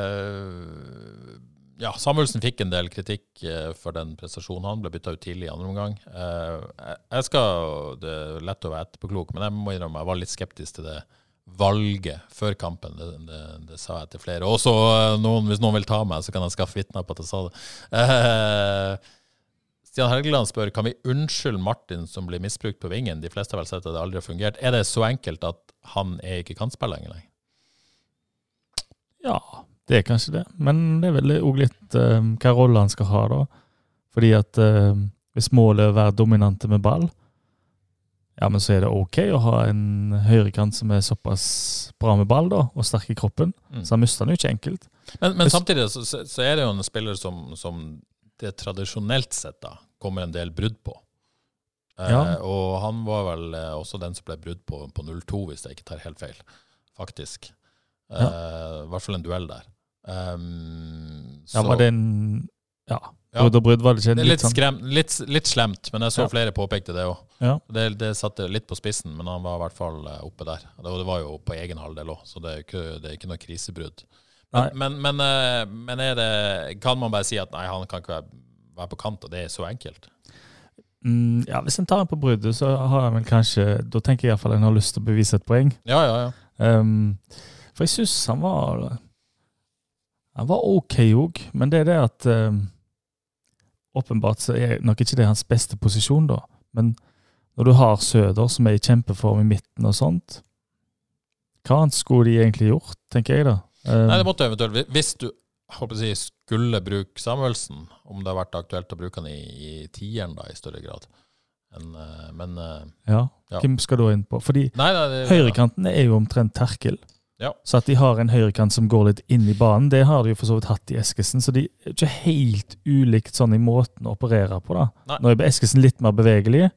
S1: eh, ja, Samuelsen fikk en del kritikk eh, for den prestasjonen. Han ble bytta ut tidlig i andre omgang. Eh, jeg- jeg skal, Det er lett å være etterpåklok, men jeg må innrømme jeg var litt skeptisk til det valget før kampen. Det, det, det sa jeg til flere. Og så, eh, noen, hvis noen vil ta meg, så kan jeg skaffe vitner på at jeg sa det. Eh, Stian Helgeland spør kan vi unnskylde Martin som blir misbrukt på vingen. De fleste har vel sett at det aldri har fungert. Er det så enkelt at han er ikke kantspiller lenger?
S2: Ja, det er kanskje det. Men det er vel òg litt eh, hva rolle han skal ha, da. Fordi at eh, hvis målet er å være dominante med ball, ja, men så er det OK å ha en høyrekant som er såpass bra med ball da, og sterk i kroppen.
S1: Mm.
S2: Så han mister den jo ikke enkelt.
S1: Men, men
S2: Hvis-
S1: samtidig så, så så er det jo en spiller som, som det tradisjonelt sett da, kommer en del brudd på. Eh,
S2: Ja.
S1: og han var vel eh, også den som ble brudd på på 0-2, hvis jeg ikke tar helt feil, faktisk. Eh, I hvert fall en duell der. Um,
S2: Ja,
S1: så-
S2: var det en Ja.
S1: Ja.
S2: Brudd og brudd, var det ikke?
S1: det
S2: en
S1: er litt,
S2: Litt sånn
S1: skrem, litt, litt slemt, men jeg så
S2: Ja.
S1: flere påpekte det òg.
S2: Ja.
S1: Det, det satte litt på spissen, men han var i hvert fall eh, oppe der. Og det, og det var jo på egen halvdel òg, så det er jo ikke, det er ikke noe krisebrudd. Men, men, men, eh, men er det, kan man bare si at nei, han kan ikke være, være på kant, og det er så enkelt?
S2: Mm, ja, hvis en tar en på bruddet, så har han vel kanskje Da tenker jeg iallfall en har lyst til å bevise et poeng.
S1: Ja, ja, ja.
S2: Ehm, for jeg syns han var Han var OK òg, men det er det at ehm, Åpenbart så er nok ikke det hans beste posisjon, da. Men når du har Søder, som er i kjempeform i midten og sånt Hva annet skulle de egentlig gjort, tenker jeg, da? Ehm,
S1: Nei, det måtte eventuelt Hvis du jeg håper å si, skulle bruke Samuelsen, om det har vært aktuelt å bruke han i, i tieren da, i større grad enn, eh, Men eh,
S2: ja.
S1: Ja.
S2: Hvem skal da inn på? Fordi
S1: Nei, nei det,
S2: Høyrekanten er jo omtrent terkel.
S1: Ja.
S2: Så at de har en høyrekant som går litt inn i banen, det har de jo for så vidt hatt i Eskesen. Så de er ikke helt ulikt sånn i måten å operere på, da.
S1: Nei.
S2: Nå er Eskesen litt mer bevegelig,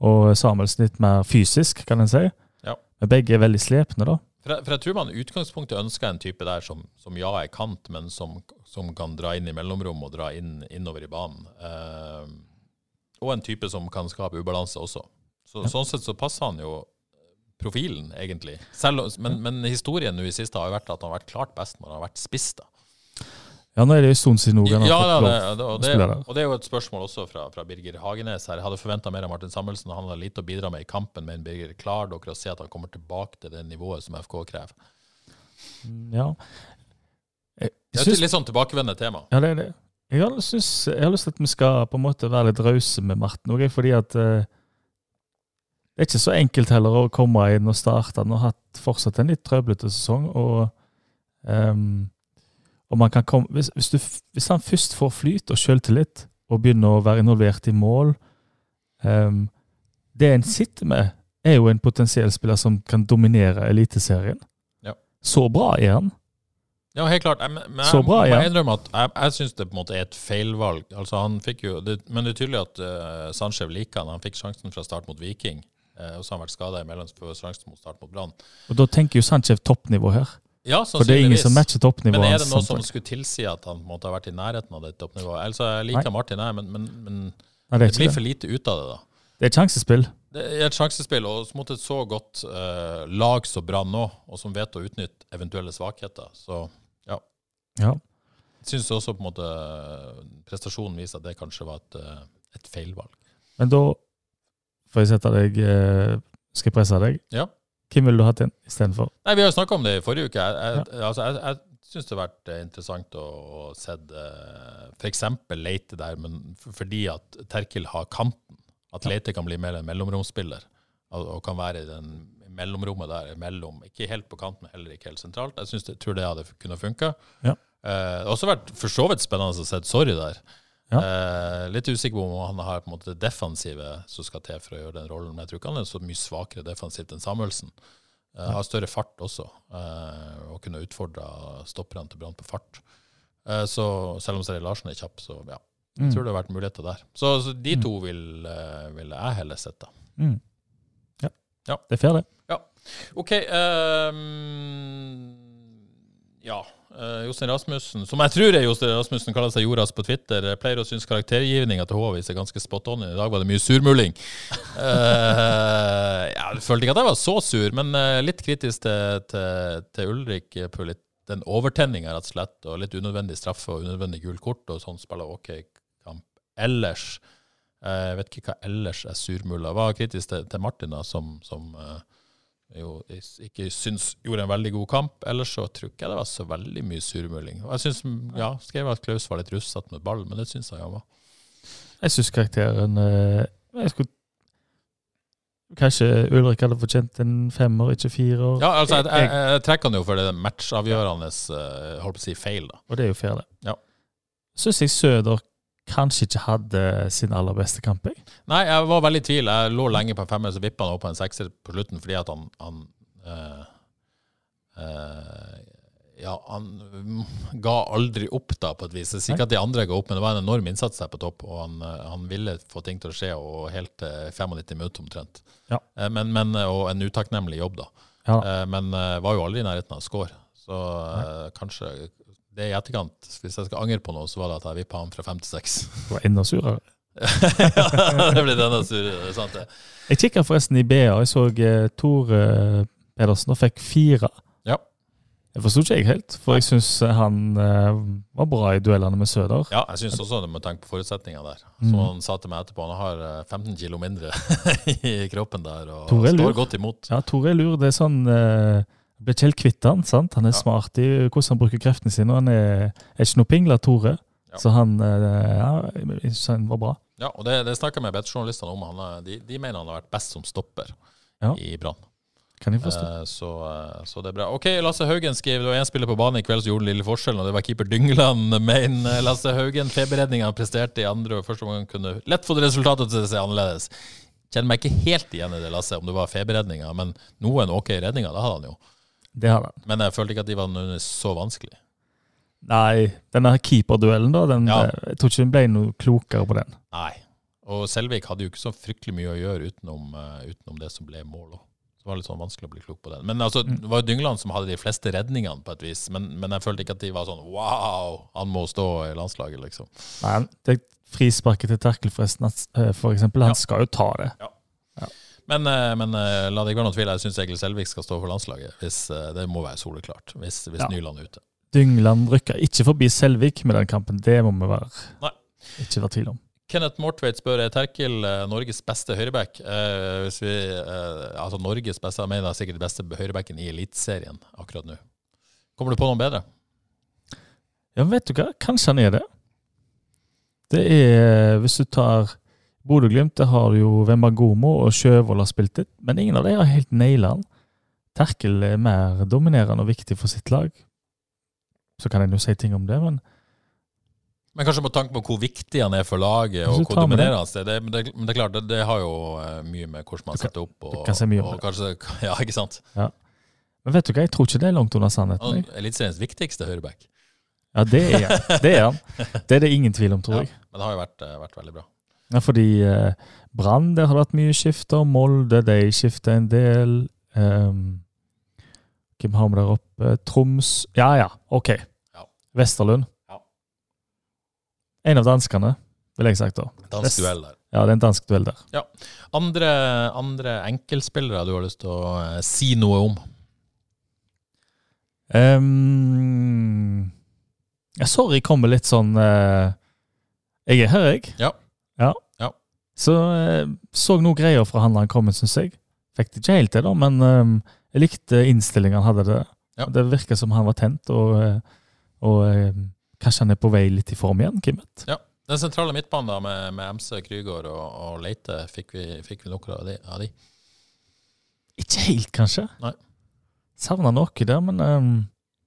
S2: og Samuelsen litt mer fysisk, kan en si.
S1: Ja.
S2: Men begge er veldig slepne, da.
S1: For jeg, for jeg tror man i utgangspunktet ønsker en type der som, som ja er kant, men som, som kan dra inn i mellomrom og dra inn, innover i banen. Eh, og en type som kan skape ubalanse også. Så, Sånn sett så passer han jo profilen, egentlig. Selv, om- men, men historien nå i siste har jo vært at han har vært klart best når han har vært spiss. da.
S2: Ja, nå er det jo en stund siden Nogan har
S1: Ja,
S2: fått
S1: da,
S2: lov.
S1: det, det, og,
S2: å
S1: det,
S2: spille der.
S1: og det er jo et spørsmål også fra, fra Birger Hagenes her. Jeg hadde forventa mer av Martin Samuelsen, og han har lite å bidra med i kampen, men Birger, klarer dere å se at han kommer tilbake til det nivået som FK krever?
S2: Ja. Jeg,
S1: Det
S2: jeg
S1: er jo
S2: syns
S1: et litt sånn tilbakevendende tema.
S2: Ja, det er det. Jeg har, synes, jeg har lyst til at vi skal på en måte være litt rause med Marten òg, fordi at eh, det er ikke så enkelt heller å komme inn og starte. Han har hatt fortsatt en litt trøblete sesong. og ehm, og man kan komme, hvis, hvis, du, f- hvis han først får flyt og selvtillit, og begynner å være involvert i mål ehm, Det en sitter med, er jo en potensiell spiller som kan dominere Eliteserien.
S1: Ja.
S2: Så bra er han.
S1: Ja, helt klart. Jeg, men men
S2: Så
S1: jeg
S2: bra,
S1: må
S2: ja.
S1: innrømme at jeg, jeg syns det på en måte er et feilvalg. Altså, han fikk jo, det, men det er tydelig at uh, Sanchez liker han. Han fikk sjansen fra start mot Viking, eh, og så har han vært skada imellom for sjansen mot start mot Brann.
S2: Og da tenker jo Sanchez toppnivå her.
S1: Ja,
S2: For det er ingen som matcher
S1: Men
S2: toppnivået
S1: er det
S2: hans.
S1: noe som
S2: samtidig.
S1: skulle tilsi at han på en måte har vært i nærheten av det toppnivået? Altså, jeg liker Martin, jeg, men, men, men
S2: Nei,
S1: det blir
S2: det, er ikke det.
S1: for lite ut av det, da.
S2: det er sjansespill.
S1: Det er et sjansespill, og så måtte et så godt eh, lag som Brann nå, og som vet å utnytte eventuelle svakheter. Så
S2: Ja.
S1: syns også på en måte eh, prestasjonen viser at det kanskje var et, eh, et feilvalg.
S2: Men da får jeg sette deg eh, Skal jeg presse deg?
S1: Ja.
S2: Hvem ville du hatt inn istedenfor?
S1: Nei, Vi har jo snakka om det i forrige uke. Jeg, jeg, altså, jeg, jeg syns det har vært eh, interessant å, å se f.eks. Leite der, men f- fordi at Terkel har kanten. At Leite kan bli mer en mellomromsspiller og, og kan være i den mellomrommet der imellom. Ikke helt på kanten, men heller ikke helt sentralt. Jeg synes det, tror det hadde f- kunne funka.
S2: Ja.
S1: Eh, det har også vært for så vidt spennende å se Sorry der.
S2: Ja.
S1: Eh, litt usikker på om han har på en måte det defensive som skal til for å gjøre den rollen, men jeg tror ikke han er så mye svakere defensivt enn Samuelsen. Eh, har større fart også, eh, og kunne utfordra stopperne til Brann på fart. Eh, så selv om Sverre Larsen er kjapp, så ja. Jeg tror det har vært muligheter der. Så, så de to vil, eh, vil jeg heller sett, da.
S2: Mm. Ja.
S1: Ja.
S2: Det er fair, det.
S1: OK ehm, Ja. eh, Jostein Rasmussen, som jeg tror er Jostein Rasmussen, kaller seg Joras på Twitter, eh, pleier å synes karaktergivninga til Håvis er ganske spot on. I dag var det mye surmuling. Eh, jeg følte ikke at jeg var så sur, men eh, litt kritisk til, til, til Ulrik på litt den overtenninga, rett og slett, og litt unødvendig straffe og unødvendig gult kort, og sånn spiller OK kamp ellers. Eh, Jeg vet ikke hva ellers er surmula. Jeg var kritisk til, til Martin, da, som, som eh, jo is- ikke syns gjorde en veldig god kamp. Ellers så tror ikke jeg det var så veldig mye surmuling. Og Jeg synes, ja, skrev at Klaus var litt russet med ball, men det syns jeg han var.
S2: Jeg syns karakteren eh, jeg skulle, Kanskje Ulrik hadde fortjent en femmer, ikke firer.
S1: Ja, altså, jeg, jeg, jeg trekker han jo for det matchavgjørende eh, holdt på å si feil, da.
S2: Og det er jo fair, det.
S1: Ja.
S2: Syns jeg Søder kanskje ikke hadde sin aller beste kamp. jeg.
S1: Nei, jeg var veldig i tvil. Jeg lå lenge på en femmer, så vippa han opp på en sekser på slutten fordi at han, han eh, eh, Ja, han mm, ga aldri opp, da, på et vis. Jeg sier ikke at de andre ga opp, men det var en enorm innsats der på topp, og han, eh, han ville få ting til å skje, og helt eh, til 95 minutter omtrent.
S2: Ja.
S1: Eh, men, men, og en utakknemlig jobb, da.
S2: Ja.
S1: Eh, men eh, var jo aldri i nærheten av å score. Så eh, kanskje Det i etterkant, hvis jeg skal angre på noe, så var det at jeg vippa han fra fem til seks.
S2: Det var enda surere.
S1: det blir denne sure, det er sant det.
S2: Jeg kikka forresten i BA, og jeg så eh, Tor eh, Pedersen og fikk fire.
S1: Ja.
S2: Jeg forsto ikke jeg helt, for jeg syns han eh, var bra i duellene med Søder.
S1: Ja, jeg syns også du må tenke på forutsetningene der. Som
S2: Mm.
S1: han sa til meg etterpå, han har eh, 15 kilo mindre i kroppen der og
S2: Tore er lur.
S1: står godt imot.
S2: Ja, Tore er lur. Det er sånn eh, jeg Ble ikke helt kvitt han, sant? Han er
S1: Ja.
S2: smart i hvordan han bruker kreftene sine. og Han er, er ikke noe pingla, Tore.
S1: Ja.
S2: Så han eh, ja, jeg synes han var bra.
S1: Ja, og det, det snakka jeg med Bedt-journalistene om. Han, er- de, de mener han har vært best som stopper
S2: Ja.
S1: i Brann.
S2: Kan jeg forstå.
S1: Eh, så, eh, så det er bra. OK, Lasse Haugen skriver det var én spiller på banen i kveld som gjorde den lille forskjellen, og det var keeper Dyngeland. Men eh, Lasse Haugen, feberredninga han presterte i andre og første omgang, kunne lett fått resultatet til å se annerledes. Kjenner meg ikke helt igjen i det, Lasse, om det var feberredninga, men noen OK redninger, det hadde han jo.
S2: Det har han.
S1: Men jeg følte ikke at de var nødvendigvis så vanskelige.
S2: Nei, denne keeperduellen, da. Den,
S1: Ja.
S2: eh, Jeg tror ikke hun ble noe klokere på den.
S1: Nei. Og Selvik hadde jo ikke så fryktelig mye å gjøre utenom, eh, utenom det som ble mål. også. Så det var litt sånn vanskelig å bli klok på den. Men altså, det var jo Dyngland som hadde de fleste redningene, på et vis. Men, men jeg følte ikke at de var sånn wow, han må stå i landslaget, liksom.
S2: Nei, han- det frisparket til Terkel, forresten, at, eh, for eksempel. Han
S1: Ja.
S2: skal jo ta det.
S1: Men, eh, men eh, la det ikke være noen tvil, jeg syns egentlig Selvik skal stå for landslaget. Hvis, eh, det må være soleklart. Hvis, hvis
S2: Ja.
S1: Nyland er ute.
S2: Dyngland rykker ikke forbi Selvik med den kampen. Det må vi være
S1: Nei.
S2: ikke være tvil om.
S1: Kenneth Mortveit spør er Terkel eh, Norges beste høyreback. Eh, hvis vi, eh, altså Norges beste, jeg mener jeg sikkert beste høyrebacken i Eliteserien akkurat nå. Kommer du på noen bedre?
S2: Ja, men vet du hva? Kanskje han er det. Det er Hvis du tar Bodø-Glimt, der har du jo Wembangomo og Sjøvold har spilt det, men ingen av dem har helt naila han. Terkel er mer dominerende og viktig for sitt lag. Så kan en jo si ting om det, men
S1: Men kanskje med tanke på hvor viktig han er for laget,
S2: Hvis
S1: og
S2: du
S1: hvor
S2: tar med
S1: dominerende han er. Det, men, det, men det er klart, det, det har jo eh, mye med hvordan man
S2: Du kan-
S1: setter opp og,
S2: du kan si mye om
S1: og kanskje, Ja, ikke sant?
S2: Men vet du hva, jeg tror ikke det er langt unna
S1: Han
S2: sannheten. jeg.
S1: er Eliteseriens viktigste høyreback.
S2: Ja, det er han. Det er, han. Det, er det ingen tvil om, tror
S1: Ja,
S2: jeg.
S1: men det har jo vært, eh, vært veldig bra.
S2: Ja, fordi eh, Brann, der har det vært mye skifter. Molde, de skifter en del. Ehm, hvem har vi der oppe? Troms Ja ja, OK.
S1: Ja.
S2: Vesterlund.
S1: Ja.
S2: En av danskene, vil jeg sagt da.
S1: Dansk duell der.
S2: Ja, det er en dansk duell der.
S1: Andre, andre enkeltspillere du har lyst til å eh, si noe om?
S2: Ehm, ja, sorry, jeg kommer litt sånn eh, Jeg er her, jeg.
S1: Ja.
S2: ja.
S1: Ja.
S2: Så eh, så noe greier fra han da han kom, syns jeg. Fikk det ikke helt til, da, men ehm, jeg likte innstillingen han hadde der.
S1: Ja.
S2: Det virker som han var tent, og, eh, og eh, kanskje han er på vei litt i form igjen, hvem vet.
S1: Den sentrale midtbanen da, med, med MC, Krygård og, og Leite, fikk vi, fikk vi noe av de? Av de?
S2: Ikke helt, kanskje.
S1: Nei.
S2: Savna noe der, men ehm,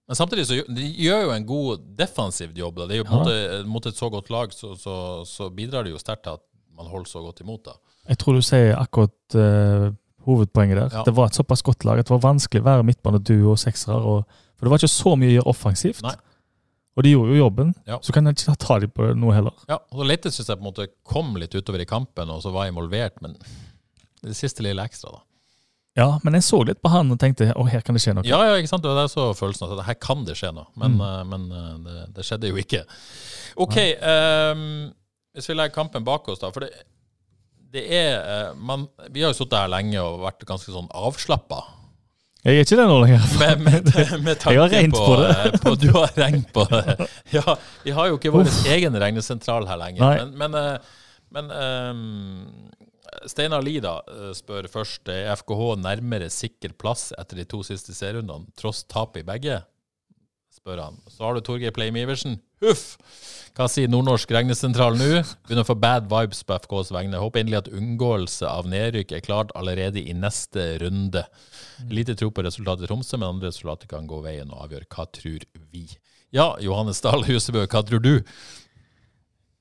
S1: Men samtidig så gjør- de gjør jo en god defensiv jobb. da. Det er jo på en måte, Mot et så godt lag så, så, så bidrar det jo sterkt til at man holder så godt imot. da.
S2: Jeg tror du sier akkurat eh, hovedpoenget der.
S1: Ja.
S2: Det var et såpass godt lag at det var vanskelig å være midtbaneduo og seksere. Og, for det var ikke så mye å gjøre offensivt.
S1: Nei.
S2: Og de gjorde jo jobben,
S1: Ja.
S2: så kan jeg ikke ta dem på noe heller.
S1: Ja, og Leite syns jeg på en måte kom litt utover i kampen og så var involvert, men det siste lille ekstra, da.
S2: Ja, men jeg så litt på han og tenkte å, her kan det skje noe.
S1: Ja, ja, ikke sant? Det var der så følelsen at her kan det skje noe, men, eh, men eh, det, det skjedde jo ikke. OK, ehm, hvis vi legger kampen bak oss, da. For det, det er eh, man, Vi har jo sittet her lenge og vært ganske sånn avslappa.
S2: Jeg er ikke det nå lenger.
S1: Med, med, med tanke
S2: Jeg har regnet på det.
S1: eh, på- du har regnet på det. Ja, vi har jo ikke vår egen regnesentral her lenger.
S2: Nei.
S1: Men, men, eh, men ehm, Steinar Lie da, eh, spør først er FKH nærmere sikker plass etter de to siste serierundene, tross tap i begge? spør han. Så har du Torgeir Pleim Iversen. Huff! Hva sier Nordnorsk regnesentral nå? Begynner å få bad vibes på FKs vegne. Håper inderlig at unngåelse av nedrykk er klart allerede i neste runde. Lite tro på resultatet i Tromsø, men andre resultater kan gå veien og avgjøre. Hva tror vi? Ja, Johannes Dahl Husebø, hva tror du?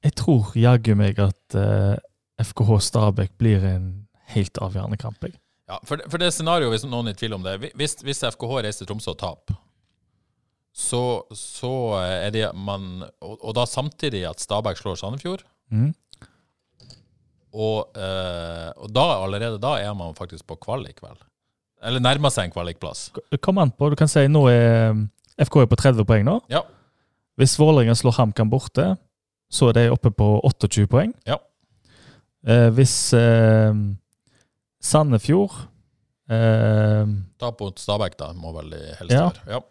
S2: Jeg tror jaggu meg at eh, FKH Stabæk blir en helt avgjørende kamp. Jeg.
S1: Ja, for, for det scenarioet, hvis noen er i tvil om det Hvis, hvis FKH reiser til Tromsø og taper, så, så er det man Og, og da samtidig at Stabæk slår Sandefjord.
S2: Mhm.
S1: Og, eh, og da, allerede da er man faktisk på kvalik, vel? Eller nærmer seg en kvalikplass.
S2: Det kommer an på. Du kan si nå er FK er på 30 poeng nå.
S1: Ja.
S2: Hvis Vålerenga slår HamKam borte, så er de oppe på 28 poeng.
S1: Ja.
S2: Eh, hvis eh, Sandefjord eh,
S1: Tap mot Stabæk, da, må vel de helst
S2: Ja.
S1: gjøre. Ja.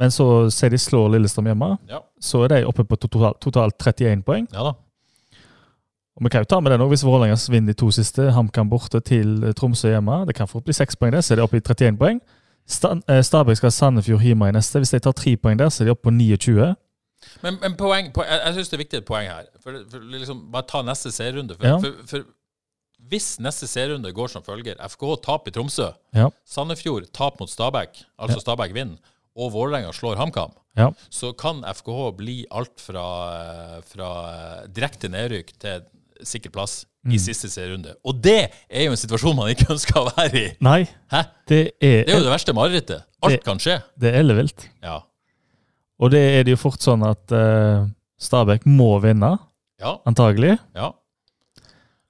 S2: Men så sier de slår Lillestrøm hjemme,
S1: Ja.
S2: så er de oppe på totalt totalt 31 poeng.
S1: ja da.
S2: Og vi kan jo ta med den også, Hvis Vålerenga vinner de to siste, HamKam borte til eh, Tromsø hjemme Det kan fort bli seks poeng der, så er de oppe i 31 poeng. Stan- eh, Stabæk skal ha Sandefjord hjemme i neste. Hvis de tar tre poeng der, så er de oppe på 29.
S1: Men, men poeng, poeng, jeg, jeg syns det er viktig et poeng her. For, for liksom, Bare ta neste serierunde. For,
S2: Ja.
S1: for, for hvis neste serierunde går som følger FK taper i Tromsø,
S2: Ja.
S1: Sandefjord tap mot Stabæk, altså Stabæk vinner, og Vålerenga slår HamKam,
S2: Ja.
S1: så kan FKH bli alt fra, fra eh, direkte nedrykk til sikker plass i
S2: Mm.
S1: siste serierunde. Og det er jo en situasjon man ikke ønsker å være i!
S2: Nei,
S1: Hæ?
S2: det er,
S1: Det er jo det verste marerittet. Alt
S2: Det-
S1: kan skje.
S2: det er ellevilt.
S1: Ja.
S2: Og det er det jo fort sånn at eh, Stabæk må vinne,
S1: Ja.
S2: antagelig.
S1: ja.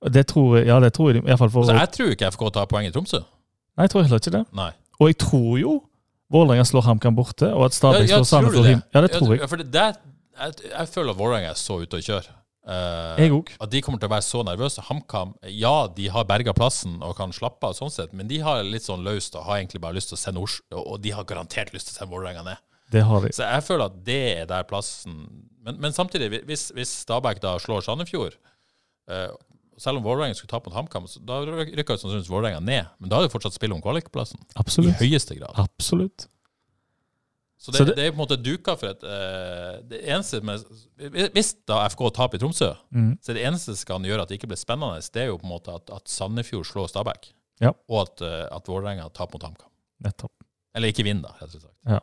S2: Og det tror jeg, ja, det tror jeg de- i hvert fall for,
S1: Så jeg tror ikke FK tar poeng i Tromsø.
S2: Nei, jeg tror heller ikke det.
S1: Nei.
S2: Og jeg tror jo Vålerenga slår HamKam borte, og at Stabæk slår
S1: tror du
S2: Sandefjord hjemme. Ja, det tror
S1: Ja,
S2: jeg.
S1: for det, der- jeg, jeg føler at Vålerenga er så ute å kjøre. Eh,
S2: Jeg òg.
S1: at de kommer til å være så nervøse. HamKam, ja, de har berga plassen og kan slappe av, sånn sett, men de har litt sånn løst og har egentlig bare lyst til å sende Ors og og de har garantert lyst til å sende Vålerenga ned.
S2: Det har de.
S1: Så jeg føler at det er der plassen Men, men samtidig, hvis, hvis Stabæk da slår Sandefjord eh, selv om Vålerenga skulle tape mot HamKam, så da rykker jo sannsynligvis Vålerenga ned. Men da er det fortsatt spill om kvalikplassen. I
S2: Absolutt.
S1: høyeste grad.
S2: Absolutt.
S1: Så det,
S2: Så
S1: det,
S2: det-
S1: er på en måte duka for et eh, Det eneste med Hvis da FK taper i Tromsø,
S2: Mhm.
S1: så det eneste som kan gjøre at det ikke blir spennende, det er jo på en måte at, at Sandefjord slår Stabæk,
S2: Ja.
S1: og at, eh, at Vålerenga taper mot HamKam.
S2: Nettopp.
S1: Eller ikke vinner, da, rett og slett.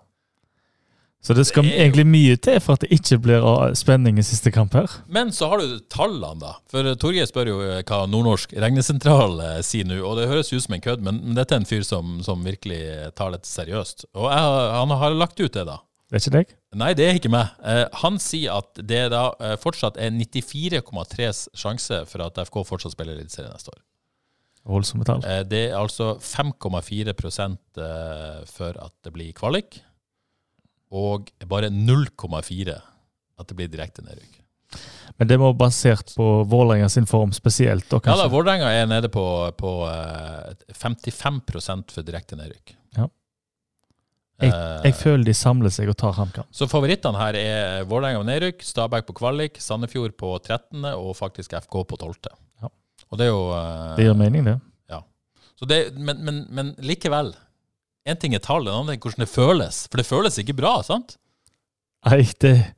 S2: Så det skal
S1: Det er jo-
S2: egentlig mye til for at det ikke blir ah, spenning i siste kamp her.
S1: Men så har du tallene, da. For Torgeir spør jo eh, hva Nordnorsk regnesentral eh, sier nå, og det høres ut som en kødd, men, men dette er en fyr som, som virkelig tar dette seriøst. Og jeg, har- han har lagt ut det, da.
S2: Det er ikke deg?
S1: Nei, det er ikke meg. Eh, han sier at det da eh, fortsatt er 94,3 sjanse for at FK fortsatt spiller Eliteserien neste år.
S2: Voldsomme tall.
S1: Eh, det er altså 5,4 prosent, eh, for at det blir kvalik, og bare 0,4 at det blir direkte nedrykk.
S2: Men det må være basert på Vålerenga sin form spesielt. Og
S1: Ja da,
S2: kanskje.
S1: Vålerenga er nede på, på eh, 55 prosent for direkte nedrykk.
S2: Ja.
S1: Eh,
S2: Jeg føler de samler seg og tar HamKam.
S1: Så favorittene her er Vålerenga på nedrykk, Stabæk på kvalik, Sandefjord på 13. og faktisk FK på 12.
S2: Ja.
S1: Og det er jo eh,
S2: Det gir mening, det.
S1: så det, men, men, men likevel. Én ting er tall, en annen er hvordan det føles. For det føles ikke bra, sant?
S2: Nei, det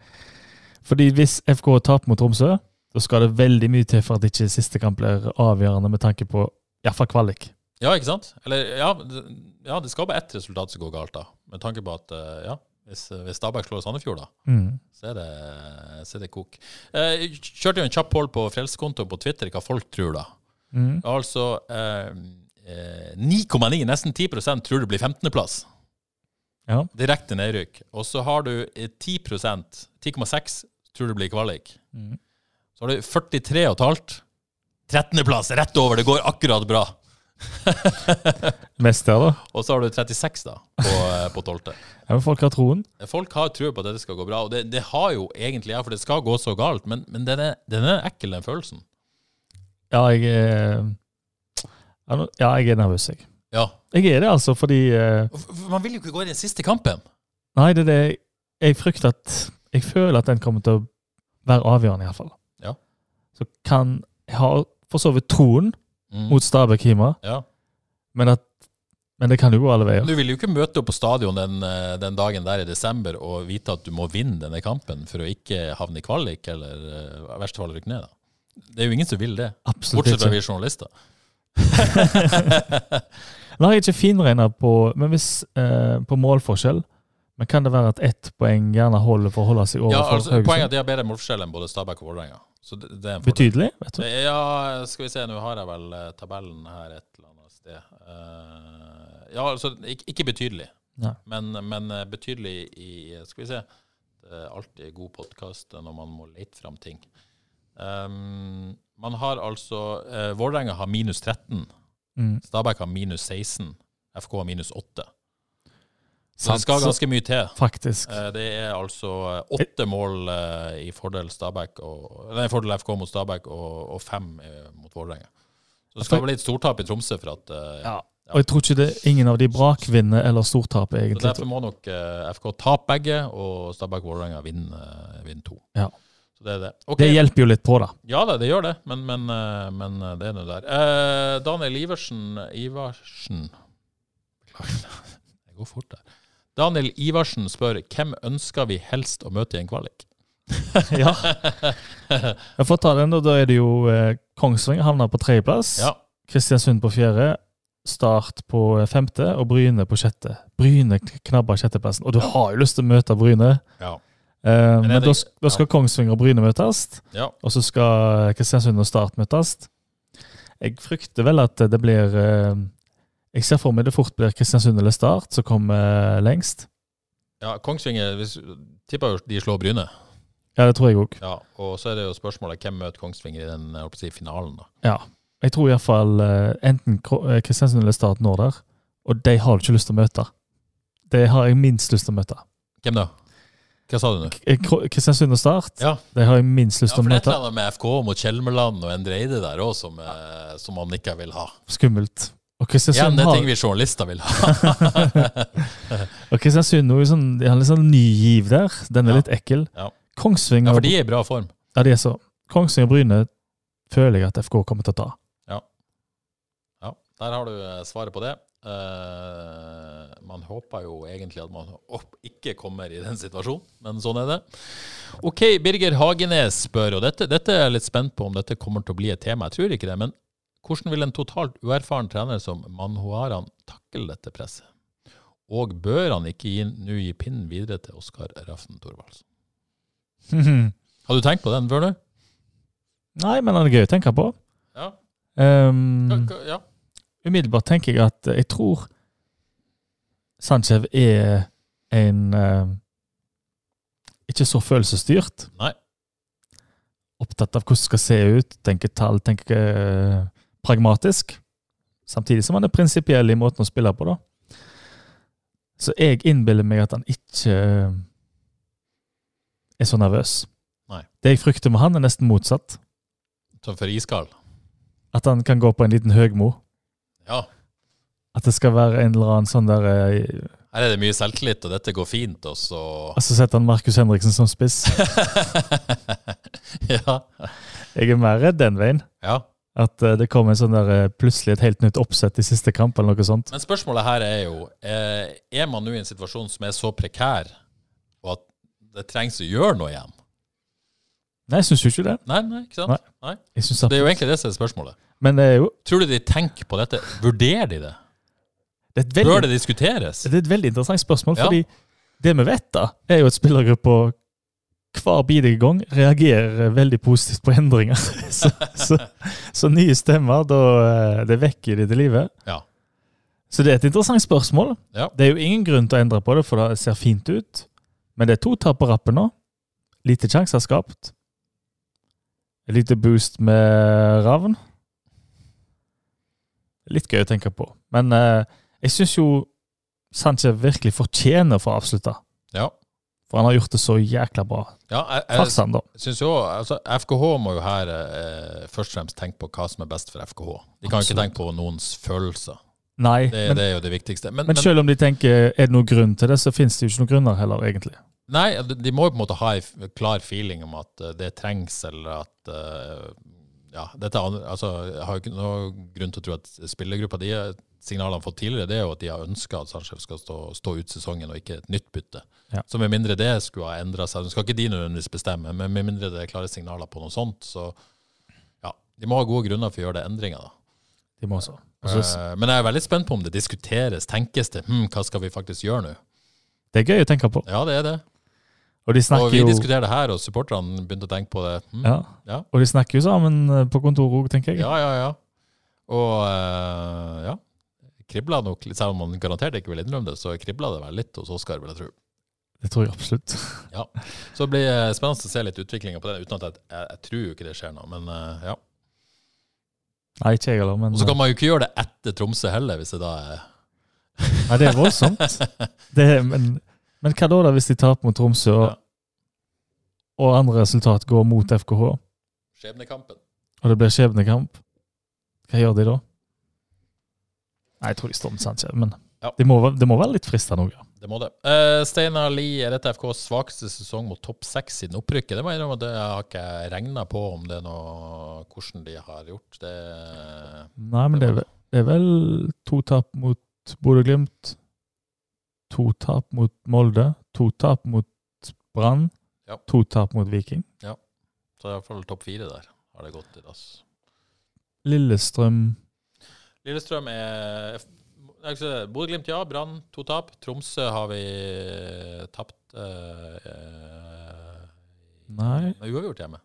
S2: Fordi hvis FK taper mot Tromsø, da skal det veldig mye til for at ikke siste kamp blir avgjørende med tanke på iallfall kvalik.
S1: Ja, ikke sant? Eller ja, det- ja det skal bare ett resultat som går galt, da. Med tanke på at eh, ja, Hvis, hvis Stabæk slår Sandefjord, da,
S2: Mm.
S1: så er det, så er det kok. Eh, kjørte jo en kjapp poll på Frelseskontoen på Twitter hva folk tror, da.
S2: Mm.
S1: Altså eh, eh, 9,9, nesten 10 tror det blir 15.-plass.
S2: Ja.
S1: Direkte nedrykk. Og så har du eh, 10 10,6 tror det blir kvalik.
S2: Mm.
S1: Så har du 43,5. 13.-plass, rett over. Det går akkurat bra.
S2: Mest der, da.
S1: Og så har du 36 da, på, eh, på 12.
S2: Ja, men folk har troen.
S1: Folk har tro på at dette skal gå bra, og det, det har jo egentlig jeg, for det skal gå så galt, men, men den, er, den er ekkel, den følelsen.
S2: Ja, jeg er, ja, nå- ja, jeg er nervøs, jeg.
S1: Ja.
S2: Jeg er det, altså, fordi eh,
S1: Og f- f- Man vil jo ikke gå i den siste kampen.
S2: Nei, det er det jeg- jeg frykter at Jeg føler at den kommer til å være avgjørende, iallfall.
S1: Ja.
S2: Så kan Jeg har for så vidt troen mot Stabæk Hima,
S1: Mm. Ja.
S2: men, at, men det kan jo gå alle veier.
S1: Du vil jo ikke møte opp på stadion den, eh, den dagen der i desember og vite at du må vinne denne kampen for å ikke havne i kvalik, eller eh, i verste fall rykke ned. da. Det er jo ingen som vil det,
S2: Absolutt
S1: bortsett fra
S2: ikke.
S1: vi journalister.
S2: Nå har jeg ikke finregna på Men hvis eh, på målforskjell men kan det være at ett poeng gjerne holder for å holde seg
S1: Ja,
S2: overfor
S1: altså, poenget er
S2: Haugesund?
S1: at de har bedre målforskjell enn både Stabæk og Vålerenga. Så det, det er en fordel.
S2: Betydelig? vet du?
S1: Eh, Ja, skal vi se, nå har jeg vel eh, tabellen her et eller annet sted. Eh, ja, altså, ikke, ikke betydelig,
S2: Nei.
S1: men, men eh, betydelig i Skal vi se. Det er alltid god podkast når man må lete fram ting. Ehm, man har altså uh, Vålerenga har minus 13,
S2: Mm.
S1: Stabæk har minus 16, FK har minus 8. Så
S2: Sant.
S1: det skal
S2: Så-
S1: ganske mye til.
S2: Faktisk.
S1: Eh, Det er altså eh, åtte mål eh, i fordel, Stabæk og, nei, fordel FK mot Stabæk og, og fem eh, mot Vålerenga. Så det skal bli et stortap i Tromsø for at eh,
S2: Ja. Og jeg tror ikke det ingen av de brakvinner eller stortaper,
S1: så
S2: egentlig.
S1: Derfor må nok eh, FK tape begge, og Stabæk Vålerenga vinne eh, vinne to.
S2: Ja.
S1: Så det er det. Ok,
S2: Det hjelper jo litt på, da.
S1: Ja da, det gjør det, men, men, eh, men eh, det er nå der. Eh, Daniel Iversen Ivarsen Beklager, det går fort der. Daniel Iversen spør hvem ønsker vi helst å møte i en kvalik?
S2: Ja. Jeg får ta den, og da er det jo eh, Kongsvinger havner på tredjeplass.
S1: Ja.
S2: Kristiansund på fjerde. Start på eh, femte, og Bryne på sjette. Bryne kn- knabber sjetteplassen. Og du har jo lyst til å møte Bryne,
S1: Ja.
S2: eh,
S1: Men er
S2: men,
S1: det-
S2: da, sk- da skal Kongsvinger og Bryne møtes.
S1: Ja.
S2: Og så skal eh, Kristiansund og Start møtes. Jeg frykter vel at det blir eh, Jeg ser for meg det fort blir Kristiansund eller Start som kommer eh, lengst.
S1: ja Kongsvinger hvis, tipper jo de slår Bryne.
S2: Ja, det tror jeg òg.
S1: Ja, og så er det jo spørsmålet hvem møter Kongsvinger i den jeg holdt på å si, finalen. da.
S2: Jeg tror iallfall enten Kro- eh, Kristiansund eller Start når der, og de har du ikke lyst til å møte. Det har jeg minst lyst til å møte.
S1: Hvem da? Hva sa du nå?
S2: K- eh, Kro- Kristiansund og Start,
S1: Ja.
S2: de har jeg
S1: Ja,
S2: minst lyst
S1: for
S2: til å
S1: det er et
S2: møte.
S1: eller annet med FK mot Kjelmeland og Endre Eide der òg som, eh, som man ikke vil ha.
S2: Skummelt. Og
S1: Igjen,
S2: Kristiansund
S1: det er ting
S2: har,
S1: vi journalister vil ha.
S2: og Kristiansund er jo sånn, de har litt sånn ny giv der. Den
S1: Ja.
S2: er litt ekkel.
S1: Ja. ja,
S2: Kongsvinger
S1: for de er i bra form.
S2: Ja, de er så Kongsvinger og Bryne føler jeg at FK kommer til å ta.
S1: Ja, der har du eh, svaret på det. Eh, man håper jo egentlig at man opp, ikke kommer i den situasjonen, men sånn er det. Ok, Birger Hagenes spør, og dette, dette er jeg litt spent på om dette kommer til å bli et tema. Jeg tror ikke det, men hvordan vil en totalt uerfaren trener som Manhuaran takle dette presset? Og bør han ikke gi- nå gi pinnen videre til Oskar Raften Thorvaldsen?
S2: Nei,
S1: Har du tenkt på den før nå?
S2: men han er gøy å tenke på.
S1: Ja.
S2: Um,
S1: ja.
S2: umiddelbart tenker jeg at eh, jeg tror Sanchez er en eh, ikke så følelsesstyrt.
S1: Nei.
S2: Opptatt av hvordan det skal se ut, tenker tall, tenker eh, pragmatisk. Samtidig som han er prinsipiell i måten å spille på, da. Så jeg innbiller meg at han ikke eh, er så nervøs.
S1: Nei.
S2: Det jeg frykter med han, er nesten motsatt.
S1: Som for iskall?
S2: At han kan gå på en liten høgmo.
S1: Ja.
S2: At det skal være en eller annen sånn der eh,
S1: Her er det mye selvtillit, og dette går fint, og så
S2: Og så setter han Markus Henriksen som spiss.
S1: ja.
S2: Jeg er mer redd den veien.
S1: ja.
S2: At eh, det kommer en sånn der eh, plutselig et helt nytt oppsett i siste kamp eller noe sånt.
S1: Men spørsmålet her er jo eh, Er man nå i en situasjon som er så prekær, og at det trengs å gjøre noe igjen?
S2: Nei, jeg syns jo ikke det.
S1: Nei, nei, ikke sant? Nei.
S2: Jeg synes at,
S1: Det er jo egentlig det som er spørsmålet.
S2: men det er jo
S1: Tror du de tenker på dette? Vurderer de det?
S2: det er et
S1: Bør
S2: veldig,
S1: det diskuteres?
S2: det er et veldig interessant spørsmål,
S1: Ja.
S2: fordi Det vi vet, da, er jo at spillergruppa hver bidige gang reagerer veldig positivt på endringer. Så, så, så nye stemmer, da eh, det vekker de til live.
S1: Ja.
S2: Så det er et interessant spørsmål.
S1: Ja.
S2: Det er jo ingen grunn til å endre på det, for det ser fint ut. Men det er to tap på rappen nå. Lite sjanser skapt. Et lite boost med Ravn. Litt gøy å tenke på. Men eh, jeg syns jo Sanchez virkelig fortjener å få avslutta.
S1: Ja.
S2: For han har gjort det så jækla bra.
S1: Ja, jeg, jeg
S2: Farsan, da.
S1: synes jo, altså, FKH må jo her eh, først og fremst tenke på hva som er best for FKH. De kan ikke
S2: Absolutt.
S1: tenke på noens følelser.
S2: Nei,
S1: Det,
S2: men,
S1: det er jo det viktigste. Men,
S2: men
S1: men-
S2: selv om de tenker er det noen grunn til det, så finnes det jo ikke noen grunner heller, egentlig.
S1: Nei, de de må jo på en måte ha en f- klar feeling om at eh, det trengs, eller at eh, Ja, dette er an- altså, jeg har jo ikke noen grunn til å tro at spillergruppa de eh, signalene har fått tidligere, det er jo at de har ønska at Sanchez skal stå, stå ut sesongen, og ikke et nytt bytte.
S2: Ja.
S1: Så med mindre det skulle ha endra seg, nå skal ikke de nødvendigvis bestemme, men med mindre det er klare signaler på noe sånt, så ja, de må ha gode grunner for å gjøre det endringer, da.
S2: De må også. Og så
S1: Eh, men jeg er veldig spent på om det diskuteres, tenkes det, hm, hva skal vi faktisk gjøre nå?
S2: det er gøy å tenke på.
S1: Ja, det er det.
S2: Og de
S1: Og
S2: snakker
S1: vi
S2: jo
S1: diskuterer det her, og supporterne begynte å tenke på det. Hm,
S2: ja.
S1: Ja.
S2: Og de snakker jo sammen eh, på kontoret òg, tenker jeg.
S1: Ja, ja, ja. Og eh, ja. Kribla nok, litt, selv om han garantert ikke vil innrømme det, så kribla det vel litt hos Oskar, vil jeg tro.
S2: Det tror jeg absolutt.
S1: Så det blir eh, spennende å se litt utviklinga på det, uten at jeg, jeg, jeg tror jo ikke det skjer noe. Men eh, ja.
S2: Nei, ikke jeg heller, men
S1: Og så kan man jo ikke gjøre det etter Tromsø heller, hvis det da er
S2: eh, Nei, det er voldsomt. Det er, men, men hva da, da, hvis de taper mot Tromsø, og,
S1: Ja.
S2: og andre resultat går mot FKH, og
S1: skjebnekampen.
S2: det blir skjebnekamp? Hva gjør de da? Nei, jeg tror de står med Sanchez, men
S1: Ja.
S2: det, må, væ- det må være litt fristende òg.
S1: Det må det. Eh, Steinar Lie, er dette FKs svakeste sesong mot topp seks siden opprykket? Det må jeg innrømme at det har ikke jeg regna på, om det er noe hvordan de har gjort det.
S2: Nei, men det er, vel- det er vel to tap mot Bodø-Glimt, to tap mot Molde, to tap mot Brann,
S1: Ja.
S2: to tap mot Viking.
S1: Så i hvert fall topp fire der har det gått i dass.
S2: Lillestrøm
S1: Lillestrøm er jeg skal si det, Bodø-Glimt, ja. Brann, to tap. Tromsø har vi tapt eh,
S2: Nei.
S1: Nei, uavgjort hjemme.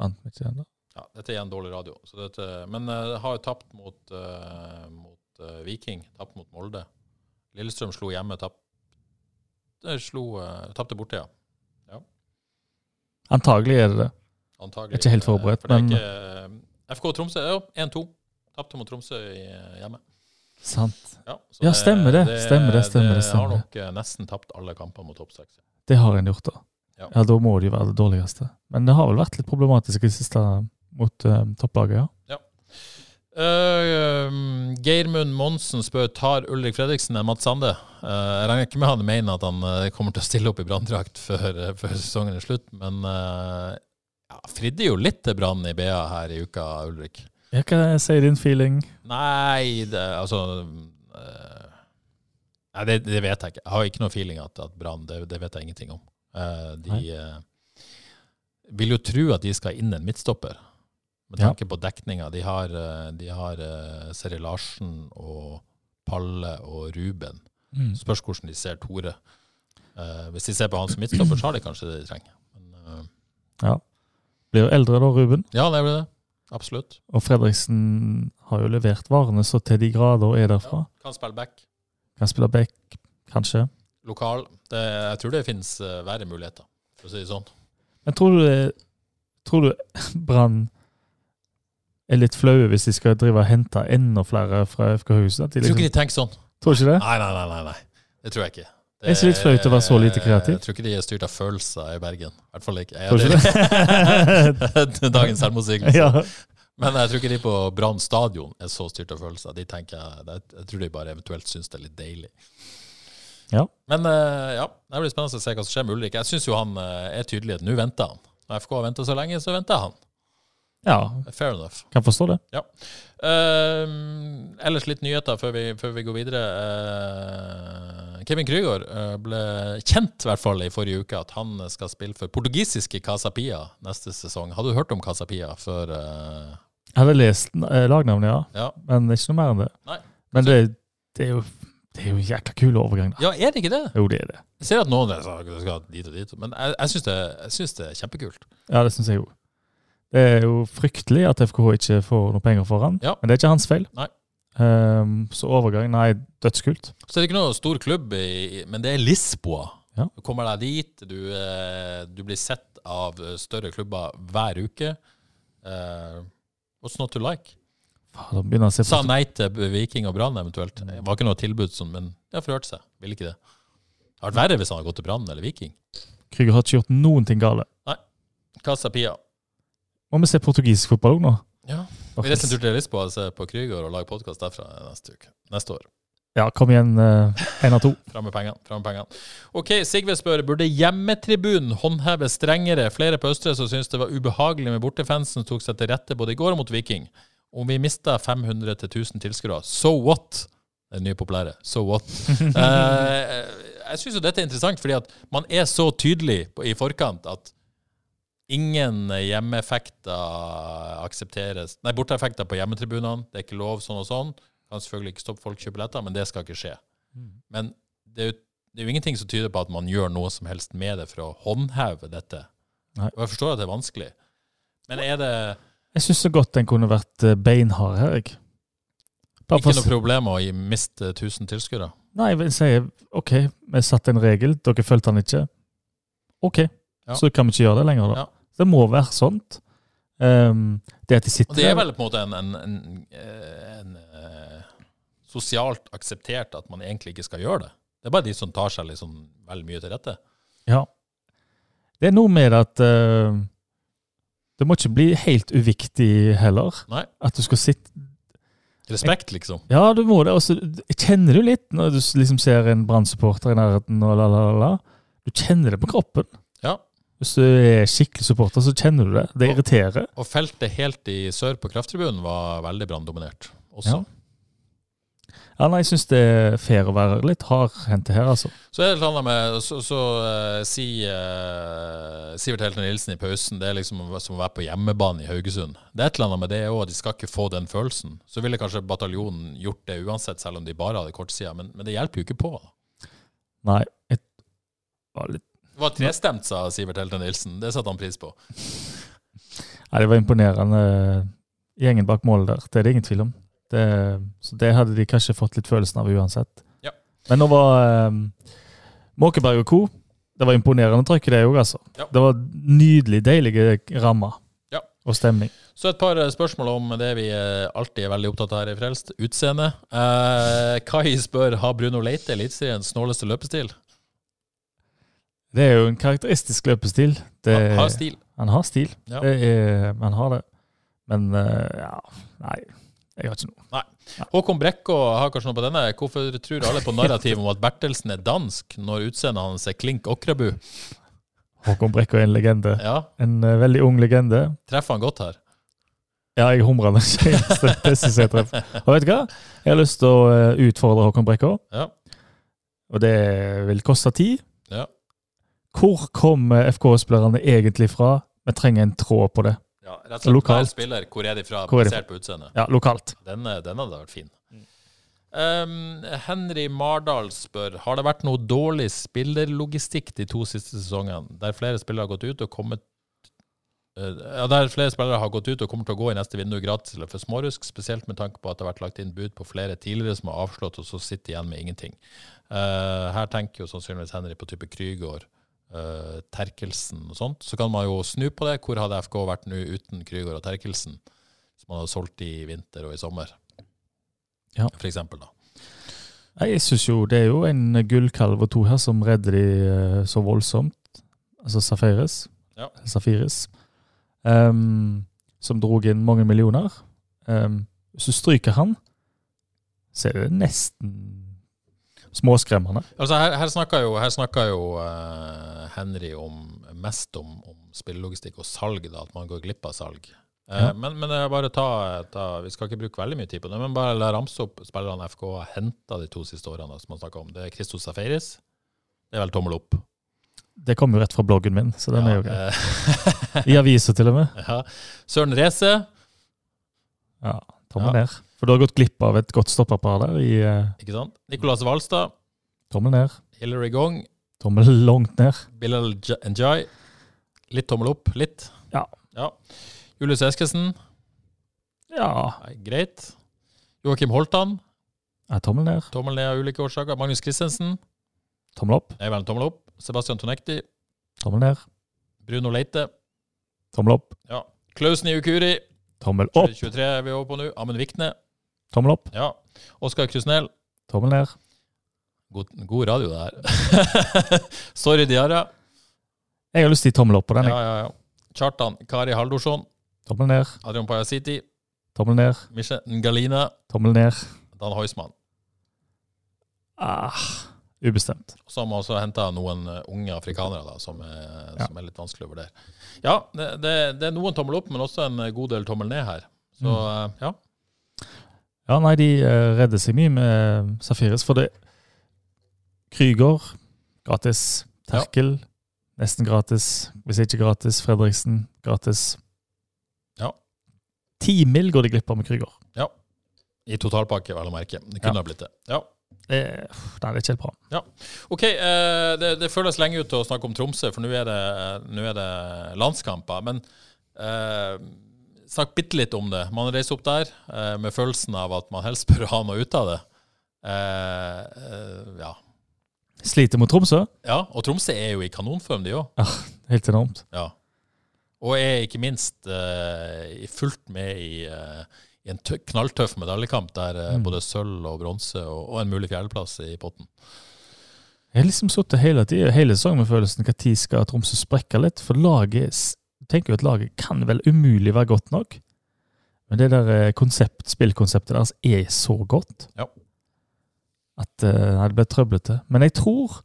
S2: vant vi ikke ennå.
S1: Ja, dette er igjen dårlig radio. Så dette, men eh, har jo tapt mot, eh, mot eh, Viking. Tapt mot Molde. Lillestrøm slo hjemme, tapt eh, slo, eh, Tapte borte, ja.
S2: Antagelig er det det.
S1: Antagelig.
S2: Jeg er ikke helt
S1: eh,
S2: forberedt,
S1: for det er
S2: men-
S1: ikke- FK Tromsø, ja. 1-2. Tapte mot Tromsø i- eh, hjemme.
S2: Sant.
S1: Ja, så
S2: Ja, stemmer det, stemmer det, stemmer det, stemmer
S1: har
S2: det.
S1: nok eh, nesten tapt alle kamper mot topp seks.
S2: Det har en gjort, da.
S1: Ja.
S2: Ja. Da må de være det dårligste. Men det har vel vært litt problematisk i det siste mot eh, topplaget, ja.
S1: Eh, um, Geirmund Monsen spør tar Ulrik Fredriksen enn Mats Sande. Eh, jeg regner ikke med han mener at han eh, kommer til å stille opp i branndrakt før, eh, før sesongen er slutt, men eh, ja, fridde jo litt til Brann i BA her i uka, Ulrik.
S2: Jeg kan si din feeling.
S1: Nei, det, altså eh, Nei, det, det vet jeg ikke. Jeg har ikke noe feeling at, at Brann det, det vet jeg ingenting om. Eh, de
S2: Nei.
S1: eh, vil jo tro at de skal inn en midtstopper, med
S2: Ja.
S1: tanke på dekninga. De har, eh, de har eh, Seri Larsen og Palle og Ruben. Spørs hvordan de ser Tore. Eh, hvis de ser på han som midtstopper, så har de kanskje det de trenger. Men, eh,
S2: Blir jo eldre da, Ruben.
S1: ja, det er vel det. Absolutt.
S2: Og Fredriksen har jo levert varene så til de grader og er derfra.
S1: Kan spille back.
S2: Kan spille back, kanskje.
S1: lokal. Det, jeg tror det finnes eh, verre muligheter, for å si det sånn.
S2: Men tror du, det- tror du Brann er litt flaue hvis de skal drive og hente enda flere fra FK-huset? At de
S1: Jeg tror
S2: Liksom,
S1: ikke de tenker sånn.
S2: tror ikke det?
S1: Nei, nei, nei. nei, nei. Det tror jeg ikke.
S2: Er ikke litt flaut å være så lite kreativ?
S1: Jeg tror ikke de er styrt av følelser i Bergen. I hvert fall ikke.
S2: Tror ikke
S1: det. Dagens selvmotsigelse.
S2: Ja.
S1: Men jeg tror ikke de på Brann stadion er så styrt av følelser. De tenker, jeg- jeg tror de bare eventuelt syns det er litt deilig.
S2: Ja.
S1: Men eh, ja, det blir spennende å se hva som skjer med Ulrik. Jeg syns jo han eh, er tydelig at nå venter han. Når FK har venta så lenge, så venter han.
S2: ja,
S1: Fair enough.
S2: kan forstå det.
S1: Ehm, ellers litt nyheter før vi, før vi går videre. Eh, Kevin Krygård eh, ble kjent i hvert fall i forrige uke at han skal spille for portugisiske Casa Pia neste sesong. Har du hørt om Casa Pia før? eh,
S2: Jeg hadde lest eh, lagnavnet, ja.
S1: ja.
S2: Men ikke noe mer enn det.
S1: Nei.
S2: Men det, det er jo Det er jo en jækla kul overgang, da.
S1: Ja, er det ikke det?
S2: Jo, det er det.
S1: Jeg ser at noen er sånn, du skal dit og dit, men jeg, jeg syns det, jeg synes det er kjempekult.
S2: Ja, det syns jeg jo. Det er jo fryktelig at FKH ikke får noe penger for han,
S1: Ja.
S2: men det er ikke hans feil.
S1: Nei.
S2: Ehm, så overgang, nei, dødskult.
S1: Så er det ikke noe stor klubb, i, men det er Lisboa.
S2: Ja.
S1: Du kommer deg dit, du, eh, du blir sett av større klubber hver uke. Eh, what's not to like?
S2: Faen, Ah, da begynner jeg å se
S1: Sa
S2: på
S1: nei til Viking og Brann eventuelt. Det var ikke noe tilbud, som- men det har forhørt seg. Ville ikke det. Det hadde vært verre hvis han hadde gått til Brann eller Viking.
S2: Krüger har ikke gjort noen ting gale.
S1: Casa Pia.
S2: Må vi se portugisisk fotball òg nå?
S1: Ja. Vi reiser en tur til Lisboa og ser på Krüger og lager podkast derfra neste uke. Neste år.
S2: Ja, kom igjen, én av to.
S1: Fram med pengene. Fram med pengene. Ok, Sigve spør burde hjemmetribunen håndheves strengere. Flere på Østre som syntes det var ubehagelig med bortefansen som tok seg til rette både i går og mot Viking. Om vi mista 500 til 1000 tilskuere, so what? Det nye populære. So what? Eh, jeg syns jo dette er interessant, fordi at man er så tydelig på, i forkant at ingen hjemmeeffekter aksepteres. Nei, borteeffekter på hjemmetribunene. Det er ikke lov sånn og sånn. Kan selvfølgelig ikke stoppe folk å kjøpe billetter, men det skal ikke skje. Men det er, jo, det er jo ingenting som tyder på at man gjør noe som helst med det for å håndheve dette.
S2: Nei.
S1: Og jeg forstår at det er vanskelig. Men er det
S2: Jeg syns så godt den kunne vært eh, beinhard her, jeg. Bare
S1: ikke
S2: for å
S1: noe problem å gi- miste 1000 tilskuere?
S2: Nei, jeg vil si OK, vi satte en regel, dere fulgte den ikke. OK,
S1: Ja.
S2: så kan vi ikke gjøre det lenger, da.
S1: Ja.
S2: Det må være sånt. Ehm, det at de sitter
S1: Og det er
S2: der-
S1: vel på en måte en, en, en, eh, en, eh, sosialt akseptert at man egentlig ikke skal gjøre det. Det er bare de som tar seg liksom vel mye til rette.
S2: Ja. Det er noe med det at eh, det må ikke bli helt uviktig heller.
S1: Nei.
S2: At du skal sitte
S1: Respekt, liksom.
S2: Ja, du må det. Og så kjenner du litt når du s- liksom ser en Brann-supporter i nærheten og la, la, la, la. Du kjenner det på kroppen.
S1: Ja.
S2: Hvis du er skikkelig supporter, så kjenner du det. Det
S1: Og-
S2: irriterer.
S1: Og feltet helt i sør på Krafttribunen var veldig branndominert også.
S2: Ja. Ja, nei, jeg syns det er fair å være litt hardhendt her, altså.
S1: Så er det et eller annet med Så, så eh, si eh, Sivert Helten Nilsen i pausen, det er liksom som å være på hjemmebane i Haugesund. Det er et eller annet med det òg, de skal ikke få den følelsen. Så ville kanskje bataljonen gjort det uansett, selv om de bare hadde kortsida, men, men det hjelper jo ikke på. da.
S2: Nei. Jeg var litt
S1: Det var trestemt, sa Sivert Helten Nilsen. Det satte han pris på.
S2: Nei, det var imponerende eh, gjengen bak målet der. Det er det ingen tvil om. Det, så det hadde de kanskje fått litt følelsen av uansett.
S1: Ja.
S2: Men nå var um, Måkeberg og co. Det var imponerende trøkk i det òg, altså.
S1: Ja.
S2: Det var nydelig, deilige rammer
S1: Ja.
S2: og stemning.
S1: Så et par eh, spørsmål om det vi eh, alltid er veldig opptatt av her i Frelst, utseende. Eh, Kai spør har Bruno Leite eliteseriens snåleste løpestil.
S2: Det er jo en karakteristisk løpestil. Det,
S1: Han har stil.
S2: Han har stil.
S1: Ja.
S2: Det er, han har det. Men eh, ja, nei. Jeg har ikke noe.
S1: Håkon Brekkå har kanskje noe på denne. Hvorfor tror alle på narrativet om at Bertelsen er dansk, når utseendet hans er klink Okrabu?
S2: Håkon Brekke er en legende.
S1: Ja,
S2: En eh, veldig ung legende.
S1: treffer han godt her?
S2: Ja, jeg humrer den kjekkeste testen jeg treffer. Og vet du hva? Jeg har lyst til å eh, utfordre Håkon Brekkå,
S1: Ja.
S2: og det vil koste tid.
S1: Ja.
S2: Hvor eh, kommer FK-spillerne egentlig fra? Vi trenger en tråd på det.
S1: ja rett og slett
S2: Lokalt.
S1: hver spiller, hvor er de fra,
S2: Hvor er de
S1: basert på utseendet?
S2: Ja, lokalt.
S1: Den, eh, den hadde vært fin. Um, Henry Mardal spør Har det vært noe dårlig spillerlogistikk de to siste sesongene, der flere spillere har gått ut og kommet eh, ja, der flere spillere har gått ut og kommer til å gå i neste vindu gratis eller for smårusk, spesielt med tanke på at det har vært lagt inn bud på flere tidligere som har avslått, og så sitter igjen med ingenting. Eh, her tenker jo sannsynligvis Henry på type Krygård, eh, Terkelsen og sånt. Så kan man jo snu på det. Hvor hadde FK vært nå uten Krygård og Terkelsen, som man hadde solgt i vinter og i sommer?
S2: Ja.
S1: For eksempel, da.
S2: Nei, Jeg synes jo det er jo en gullkalv og to her som redder de eh, så voldsomt. Altså Safaris.
S1: Ja.
S2: Safiris. Ehm, som drog inn mange millioner. Ehm, hvis du stryker han, så er det nesten småskremmende.
S1: Altså her, her snakker jo, her snakker jo eh, Henry om, mest om, om spillelogistikk og salg, da, at man går glipp av salg. Eh,
S2: Ja.
S1: Men, men jeg bare ta, ta, vi skal ikke bruke veldig mye tid på det, men bare la ramse opp spillerne FK har henta de to siste årene. da, som man snakker om. Det er Christo Safaris. Det er vel tommel opp.
S2: Det kommer jo rett fra bloggen min, så den er jo grei.
S1: eh,
S2: I avisa til og med.
S1: ja. Søren Reze.
S2: Ja, tommel
S1: Ja.
S2: ned. For du har gått glipp av et godt stopperpar der i eh,
S1: Ikke sant? Nicolas Walstad,
S2: tommel ned.
S1: Hilary Gong,
S2: Tommel langt ned.
S1: Bilal J- Njai. Litt tommel opp. Litt.
S2: Ja.
S1: Julius Eskesen.
S2: Ja.
S1: Nei, greit. Joakim Holtan.
S2: ja tommel ned.
S1: Tommel ned av ulike årsaker. Magnus Christensen.
S2: Tommel opp.
S1: Jeg velger tommel opp. Sebastian Tonekti.
S2: Tommel ned.
S1: Bruno Leite.
S2: Tommel opp.
S1: Ja. Klaus Niukuri.
S2: Tommel opp.
S1: 23 er vi over på nå. Amund Vikne.
S2: Tommel opp.
S1: Ja. Oskar Krusnell.
S2: Tommel ned.
S1: God, god radio, det her. Sorry, Diarra.
S2: Jeg har lyst til å gi tommel opp på
S1: Ja,
S2: den. jeg.
S1: ja, ja. Kjartan Kari Haldorsson.
S2: Tommel ned.
S1: Adrian Pajasiti.
S2: Tommel ned.
S1: Michel Ngalina.
S2: Tommel ned.
S1: Dan Heusmann.
S2: Ah, ubestemt.
S1: Og så har man også henta noen eh, unge afrikanere da, som er,
S2: Ja.
S1: som er litt vanskelig å vurdere. Ja, det, det, det er noen tommel opp, men også en eh, god del tommel ned her. Så
S2: Mm.
S1: eh, ja.
S2: Ja, nei, de eh, redder seg mye med eh, Safiris, for det Krüger, gratis. Terkel, nesten gratis. Hvis ikke gratis, Fredriksen, gratis.
S1: Ja.
S2: Ti mil går de glipp av med Krüger.
S1: I totalpakke, vel å merke. Det
S2: Ja.
S1: kunne ha blitt det. Ja.
S2: Det, uff, nei, det er ikke helt bra.
S1: OK, eh, det, det føles lenge ut å snakke om Tromsø, for nå er det, eh, nå er det landskamper. Men eh, snakk bitte litt om det. Man reiser opp der eh, med følelsen av at man helst bør ha noe ut av det. Eh, eh, ja.
S2: Sliter mot Tromsø.
S1: ja. Og Tromsø er jo i kanonform, de òg.
S2: Helt enormt.
S1: Ja. Og er ikke minst eh, i- fullt med i, eh, i en tø knalltøff medaljekamp der eh,
S2: Mm.
S1: både sølv og bronse og, og en mulig fjerdeplass i potten.
S2: Jeg har liksom sittet hele tiden, hele sesongen med følelsen når skal Tromsø sprekke litt? For laget s- Du tenker jo at laget kan vel umulig være godt nok? Men det der eh, konsept, spillkonseptet deres er så godt
S1: Ja.
S2: at eh, nei, det blir trøblete. Men jeg tror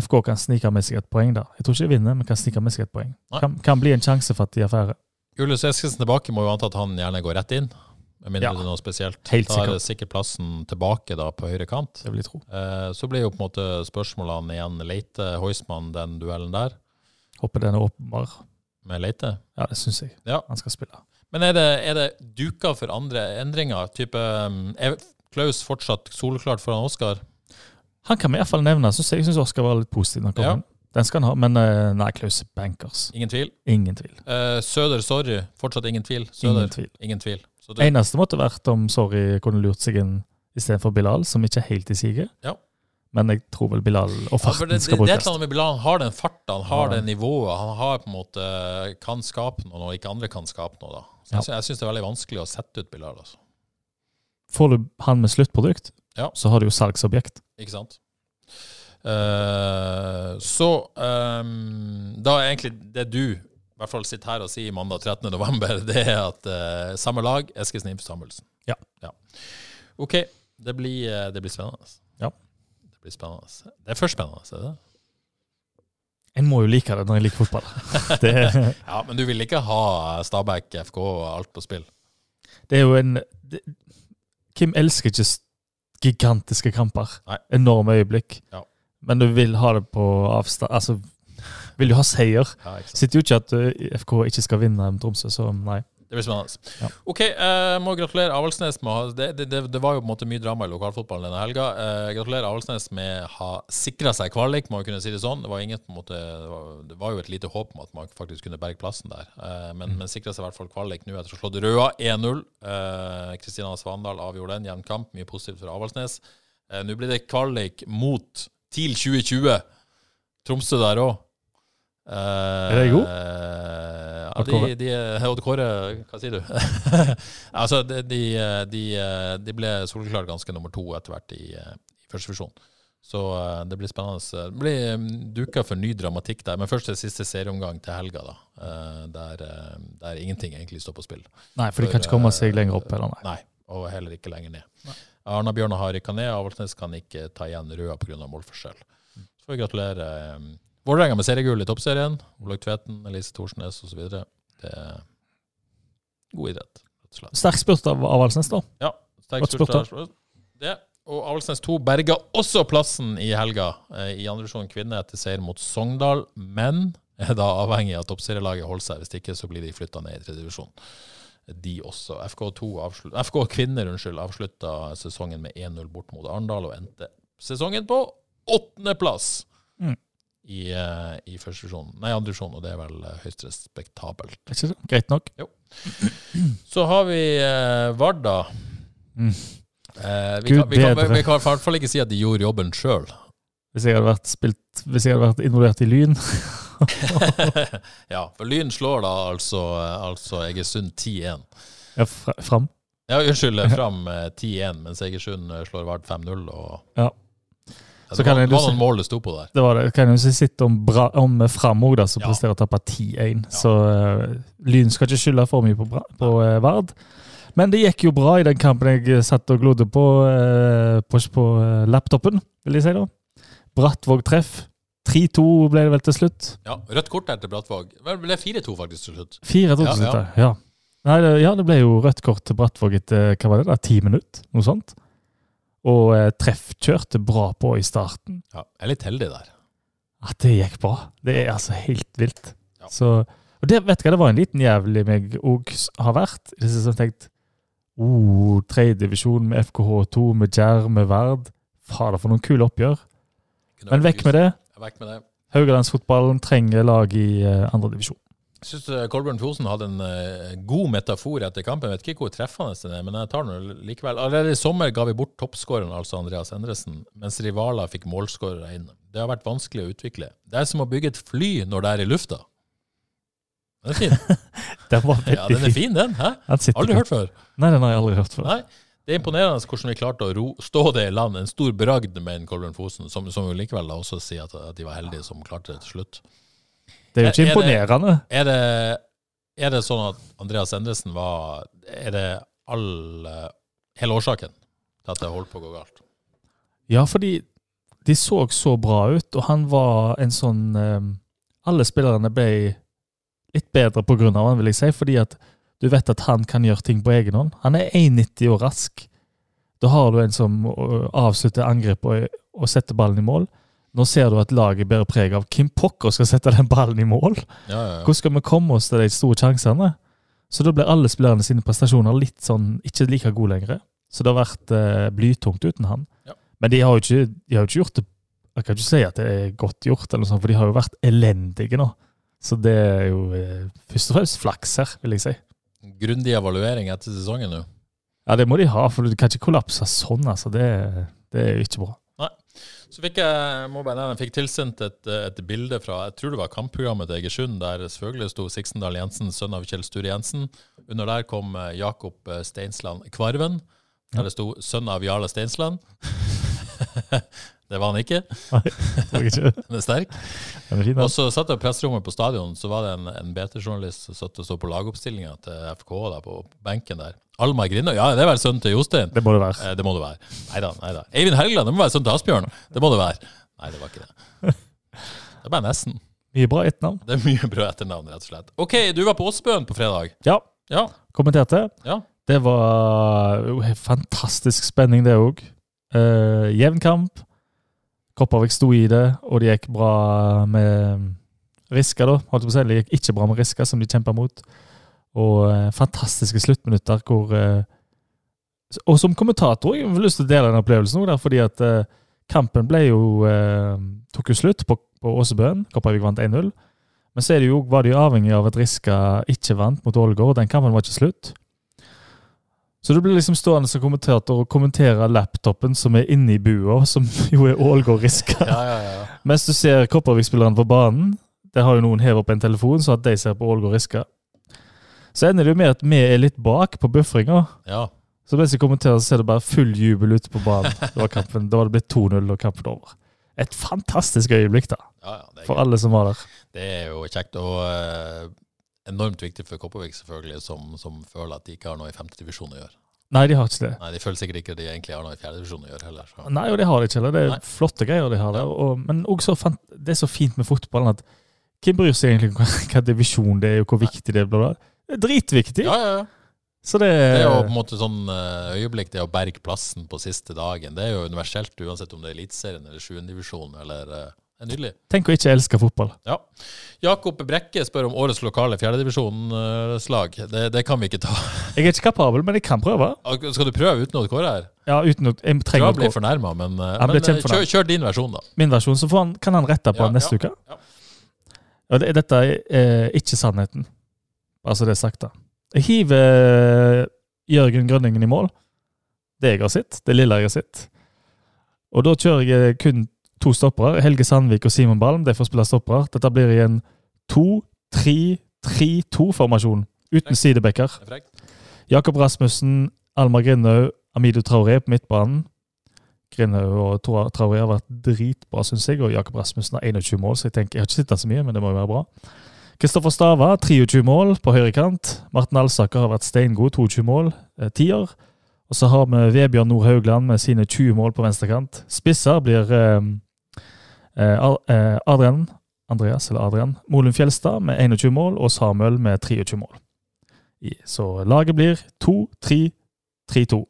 S2: FK kan snike med seg et poeng der. Jeg tror ikke de vinner, men kan snike med seg et poeng.
S1: Nei.
S2: Kan, kan bli en sjansefattig affære.
S1: Julius Eskesen tilbake må jo anta at han gjerne går rett inn, med mindre
S2: Ja.
S1: det er noe spesielt.
S2: Helt
S1: da er det sikkert plassen tilbake da på høyre kant.
S2: Det vil jeg tro.
S1: Eh, så blir jo på en måte spørsmålene igjen Leite, Heusmann, den duellen der
S2: Håper den er åpenbar.
S1: med Leite.
S2: Ja, det syns jeg.
S1: Ja.
S2: Han skal spille.
S1: Men er det, er det duka for andre endringer? Type, mm, er Klaus fortsatt soleklart foran Oskar?
S2: Han kan vi iallfall nevne. Så jeg syns Oskar var litt positiv. Når han kom
S1: Ja.
S2: inn. Den skal han ha. Men eh, nei, Klaus er bankers.
S1: Ingen tvil.
S2: Ingen tvil.
S1: Eh, Søder, sorry. Fortsatt ingen tvil. Søder,
S2: Ingen
S1: ingen tvil.
S2: tvil.
S1: Så det,
S2: Eneste måtte vært om Sorry kunne lurt seg inn istedenfor Bilal, som ikke er helt i siget.
S1: Ja.
S2: Men jeg tror vel Bilal og
S1: Ja, for
S2: farten
S1: det, det,
S2: skal
S1: det er et
S2: brukes.
S1: eller annet med Bilal. Han har den farta, han har
S2: Ja.
S1: det nivået. Han har på en måte eh, kan skape noe når ikke andre kan skape noe. da. Så
S2: Ja.
S1: jeg, sy- jeg syns det er veldig vanskelig å sette ut Bilal. altså.
S2: Får du han med sluttprodukt,
S1: Ja.
S2: så har du jo salgsobjekt.
S1: Ikke sant? Eh, så eh, da er egentlig det du i hvert fall sitter her og sier mandag 13. november, det er at eh, samme lag, Eskesen Imp Samuelsen.
S2: Ja.
S1: OK. Det blir, eh, det blir spennende.
S2: Ja.
S1: Det blir spennende. altså. Det er først spennende, er det det?
S2: En må jo like det når en liker fotball. det,
S1: Ja, men du vil ikke ha Stabæk, FK og alt på spill?
S2: det er jo en det, Hvem elsker ikke s- gigantiske kamper?
S1: Nei.
S2: Enorme øyeblikk.
S1: Ja.
S2: Men du vil ha det på avstand Altså, vil jo ha seier.
S1: Ja, ikke sant?
S2: Sitter jo ikke at eh, ø, FK ikke skal vinne om Tromsø, så nei.
S1: Det blir spennende.
S2: Ja.
S1: OK, eh, må gratulere Avaldsnes med å ha det, det, det, det var jo på en måte mye drama i lokalfotballen denne helga. Eh, gratulerer Avaldsnes med å ha sikra seg kvalik, må vi kunne si det sånn. Det var, ingen, på en måte, det, var, det var jo et lite håp om at man faktisk kunne berge plassen der. Eh,
S2: Mm.
S1: men, men sikra seg i hvert fall kvalik nå etter å ha slått Røa 1-0. Eh, Kristina Svandal avgjorde den. Jevn kamp, mye positivt for Avaldsnes. Eh, nå blir det kvalik mot TIL 2020. Tromsø der òg.
S2: Er de gode?
S1: Eh, Ja, de, de, Odd Kåre, hva sier du? altså, de, de, de, eh, de ble soleklart ganske nummer to etter hvert i, eh, i første divisjon. Så eh, det blir spennende. Det blir mm, duka for ny dramatikk der. Men først det siste serieomgang til helga, da. eh, Der, eh, der ingenting egentlig står på spill.
S2: Nei, for de kan ikke komme seg lenger opp heller, nei.
S1: Nei, og heller ikke lenger ned. Arna Bjørnar har rykka ned, Avaldsnes kan ikke ta igjen Røa pga. målforskjell. Så får vi gratulere eh, Vålerenga med seriegull i Toppserien. Olaug Tveten, Elise Thorsnes osv. Det er god idrett, rett og slett.
S2: Sterk spurt av Avaldsnes, da.
S1: Ja, sterk
S2: Godt spurt,
S1: spurt der. Det. Og Avaldsnes 2 berga også plassen i helga eh, i andre divisjon kvinne etter seier mot Sogndal, men er da avhengig av at toppserielaget holder seg. Hvis ikke så blir de flytta ned i tredje divisjon. de også. FK2 avslut, FK kvinner unnskyld, avslutta sesongen med 1-0 bort mot Arendal og endte sesongen på åttendeplass
S2: Mm.
S1: i, eh, i første divisjon. Nei, andre divisjon, og det er vel eh, høyst respektabelt.
S2: Er ikke det? Greit nok.
S1: Så har vi eh, Varda.
S2: Mm.
S1: Eh, vi,
S2: Gud
S1: kan, vi, kan, vi,
S2: bedre.
S1: kan i hvert fall ikke si at de gjorde jobben sjøl.
S2: Hvis jeg hadde vært, spilt, hvis jeg hadde vært involvert i Lyn
S1: ja, for Lyn slår da altså, eh, altså Egersund 10-1.
S2: ja, fra, fram
S1: Ja, unnskyld, fram eh, 10-1, mens Egersund eh, slår Vard 5-0. og...
S2: Ja.
S1: Ja,
S2: Så
S1: det
S2: kan
S1: var,
S2: jeg-
S1: det var noen mål det sto på der.
S2: Det var det. Kan jo ikke sitte om, bra, om Fram òg, da, som
S1: Ja.
S2: presterer å tape 10-1. Så eh, Lyn skal ikke skylde for mye på, bra, på eh, Vard. Men det gikk jo bra i den kampen jeg eh, satt og glodde på eh, på, på eh, laptopen, vil jeg si da. Brattvåg treff. 3-2 ble det vel til slutt.
S1: Ja, Rødt kort der til Brattvåg. Vel, Det ble 4-2 faktisk til slutt.
S2: 4-2 til
S1: Ja,
S2: slutt, ja. ja. Nei, det, ja, det ble jo rødt kort til Brattvåg etter hva var det da, ti minutter, noe sånt. Og eh, treff kjørte bra på i starten.
S1: Ja, jeg er litt heldig der.
S2: At det gikk bra. Det er altså helt vilt.
S1: Ja.
S2: Så, og det, vet du hva, det var en liten jævel i meg òg har vært. Det siste som tenkt oh, Tredjedivisjon med FKH2, med Djerv, med Verd. Fader, for noen kule oppgjør.
S1: Kunne
S2: Men
S1: vært
S2: vekk med det.
S1: Vekk med det.
S2: Haugalandsfotballen trenger lag i eh, andredivisjon.
S1: Jeg syns Kolbjørn Fosen hadde en eh, god metafor etter kampen. Jeg vet ikke hvor treffende den er, men jeg tar den likevel. Allerede i sommer ga vi bort toppskåreren, altså Andreas Endresen, mens rivaler fikk målskårere inn. Det har vært vanskelig å utvikle. Det er som å bygge et fly når det er i lufta. Den er fin.
S2: Den var veldig
S1: Ja, den er fin, den. Hæ?
S2: Han sitter
S1: Aldri
S2: på-
S1: hørt før.
S2: Nei, den har jeg aldri hørt før.
S1: Nei. Det er imponerende hvordan vi klarte å ro, stå det i land. En stor bragd med en Kolbjørn Fosen, som, som jo likevel da også sier at, at de var heldige som klarte det til slutt.
S2: Det er jo ikke
S1: Er det-
S2: imponerende.
S1: Er det, er det sånn at Andreas Endresen var Er det all eh, Hele årsaken til at det holdt på å gå galt?
S2: Ja, fordi de så så bra ut, og han var en sånn eh, Alle spillerne ble litt bedre pga. han, vil jeg si, fordi at du vet at han kan gjøre ting på egen hånd. Han er 1,90 og rask. Da har du en som eh, avslutter angrep og, og setter ballen i mål. Nå ser du at laget bærer preg av hvem pokker skal sette den ballen i mål?
S1: Ja, ja, ja.
S2: Hvordan skal vi komme oss til de store sjansene? Så da blir alle spillerne sine prestasjoner litt sånn, ikke like gode lenger. Så det har vært eh, blytungt uten han.
S1: Ja.
S2: Men de har jo ikke, de har jo ikke gjort det Jeg kan ikke si at det er godt gjort, eller noe sånt, for de har jo vært elendige nå. Så det er jo eh, først og fremst flaks her, vil jeg si.
S1: Grundig evaluering etter sesongen nå.
S2: Ja, det må de ha, for du kan ikke kollapse sånn, altså. Det, det er jo ikke bra.
S1: Så fikk jeg må bare nevne, jeg fikk tilsendt et, et bilde fra jeg tror det var kampprogrammet til Egersund, der selvfølgelig sto Siksendal Jensen, sønn av Kjell Sture Jensen. Under der kom eh, Jakob eh, Steinsland Kvarven, der det sto 'sønn av Jarle Steinsland'. det var han ikke.
S2: Det er ikke-
S1: Den er sterk.
S2: Den er fin,
S1: Og
S2: den.
S1: så satt jeg i presserommet på stadion, så var det en, en BT-journalist som satt og så på lagoppstillinga til FK da, på benken der. Almar Grindøy, ja, det er vel sønnen til Jostein?
S2: Det må det være.
S1: Eh, det må det være. Nei da, nei da. Eivind Helgeland, det må være sønnen til Asbjørn? Det må det være. Nei, det var ikke det. Det er bare nesten.
S2: Mye bra etternavn.
S1: Det er mye bra etternavn, rett og slett. OK, du var på Åsbøen på fredag.
S2: Ja,
S1: Ja.
S2: kommenterte.
S1: ja.
S2: Det var jo helt fantastisk spenning, det òg. Eh, jevn kamp. Kopervik sto i det, og det gikk bra med mm, Riska, da. Holdt jeg på å si. Det gikk ikke bra med Riska, som de kjempa mot. Og eh, fantastiske sluttminutter hvor eh, Og som kommentator jeg har lyst til å dele den opplevelsen òg, fordi at eh, kampen ble jo eh, tok jo slutt på, på Åsebøen. Kopervik vant 1-0. Men så er det jo, var det jo avhengig av at Riska ikke vant mot Ålgård. Den kampen var ikke slutt. Så du blir liksom stående som kommentator og kommentere laptopen som er inne i bua, som jo er Ålgård Riska.
S1: Ja, ja, ja.
S2: Mens du ser Kopervik-spillerne på banen, der har jo noen hevet opp en telefon, så at de ser på Ålgård Riska. Så ender det jo med at vi er litt bak på buffringa.
S1: ja.
S2: Så mens jeg kommenterer, så ser det bare full jubel ute på banen. Det var kampen, da var det blitt 2-0 og kampen over. Et fantastisk øyeblikk, da.
S1: ja, ja det, er
S2: For alle som var der.
S1: gøy. det er jo kjekt. Og eh, enormt viktig for Kopervik, selvfølgelig, som, som føler at de ikke har noe i femtedivisjon å gjøre.
S2: Nei, de har ikke det.
S1: Nei, de føler sikkert ikke at de egentlig har noe i fjerdedivisjon å gjøre heller. Så.
S2: Nei, og det har de ikke heller. Det er
S1: Nei.
S2: flotte greier de har der. Og, men også fant, det er så fint med fotballen at hvem bryr seg egentlig om hva- hva divisjon det er, og hvor viktig det er? Bla, bla. Det er dritviktig!
S1: Ja, ja, ja.
S2: Så det,
S1: Det er jo på en måte sånn eh, øyeblikk, det å berge plassen på siste dagen. Det er jo universelt, uansett om det er Eliteserien eller sjuendedivisjon eller eh, Det er nydelig.
S2: Tenk å ikke elske fotball.
S1: Ja. Jakob Brekke spør om årets lokale fjerdedivisjonslag. Det, det kan vi ikke ta.
S2: Jeg er ikke kapabel, men jeg kan prøve.
S1: Skal du prøve uten å kåre her?
S2: Ja, uten å, jeg
S1: Jeg tror
S2: trenger
S1: han blir
S2: å gå
S1: fornærma, men,
S2: Han
S1: men
S2: blir
S1: eh, kjør,
S2: kjempefornærmet.
S1: kjør din versjon, da.
S2: min versjon, så får han, kan han rette på
S1: Ja,
S2: neste
S1: ja,
S2: uke.
S1: ja.
S2: Og det, dette er eh, ikke sannheten. Altså det er sagt, da. Jeg hiver eh, Jørgen Grønningen i mål. Det jeg har sett. Det lille jeg har sett. Og da kjører jeg eh, kun to stoppere. Helge Sandvik og Simon Balm. De får spille stoppere. Dette blir i en 2-3-3-2-formasjon. Uten sidebacker.
S1: Det er frekt.
S2: Jakob Rasmussen, Almar Grindhaug, Amido Traoré på midtbanen. Grindhaug og Tra- Traoré har vært dritbra, syns jeg. Og Jakob Rasmussen har 21 mål, så jeg tenker, jeg har ikke sett det så mye, men det må jo være bra. Kristoffer Stava, 23 mål på høyrekant. Martin Alsaker har vært steingod, 22 mål. eh, Tier. Og så har vi Vebjørn Nord Haugland med sine 20 mål på venstrekant. Spisser blir eh, eh, Ar- eh, Adrian Andreas, eller Adrian Molum Fjelstad med 21 mål, og Samuel med 23 mål. I- Så laget blir 2-3-3-2.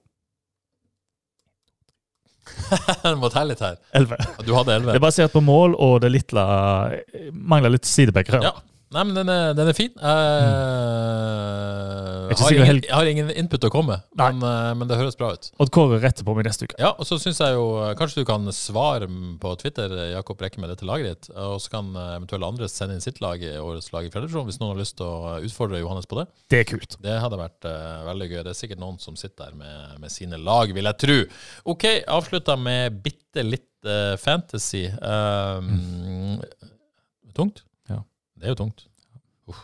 S1: Du må telle litt her.
S2: 11.
S1: Du hadde
S2: Det
S1: 11.
S2: er basert på mål, og det lille mangler litt sidebacker. her.
S1: Ja. Nei, men den er, den er fin. Eh,
S2: Jeg er Mm. ikke
S1: har
S2: sikker
S1: ingen,
S2: helt-
S1: jeg har ingen input å komme med,
S2: Nei.
S1: men, eh, men det høres bra ut.
S2: Odd Kåre retter på meg neste uke.
S1: Ja, og så synes jeg jo eh, Kanskje du kan svare m- på Twitter, eh, Jakob Brekke, med dette laget ditt. Og så kan eh, eventuelle andre sende inn sitt lag i årets lag i Fjellrevisjon, hvis noen har lyst til å eh, utfordre Johannes på det.
S2: Det er kult.
S1: Det hadde vært eh, veldig gøy. Det er sikkert noen som sitter der med, med sine lag, vil jeg tro. OK, avslutta med bitte litt eh, fantasy. Um, Tungt?
S2: Mm. Ja.
S1: Det er jo tungt. Uff.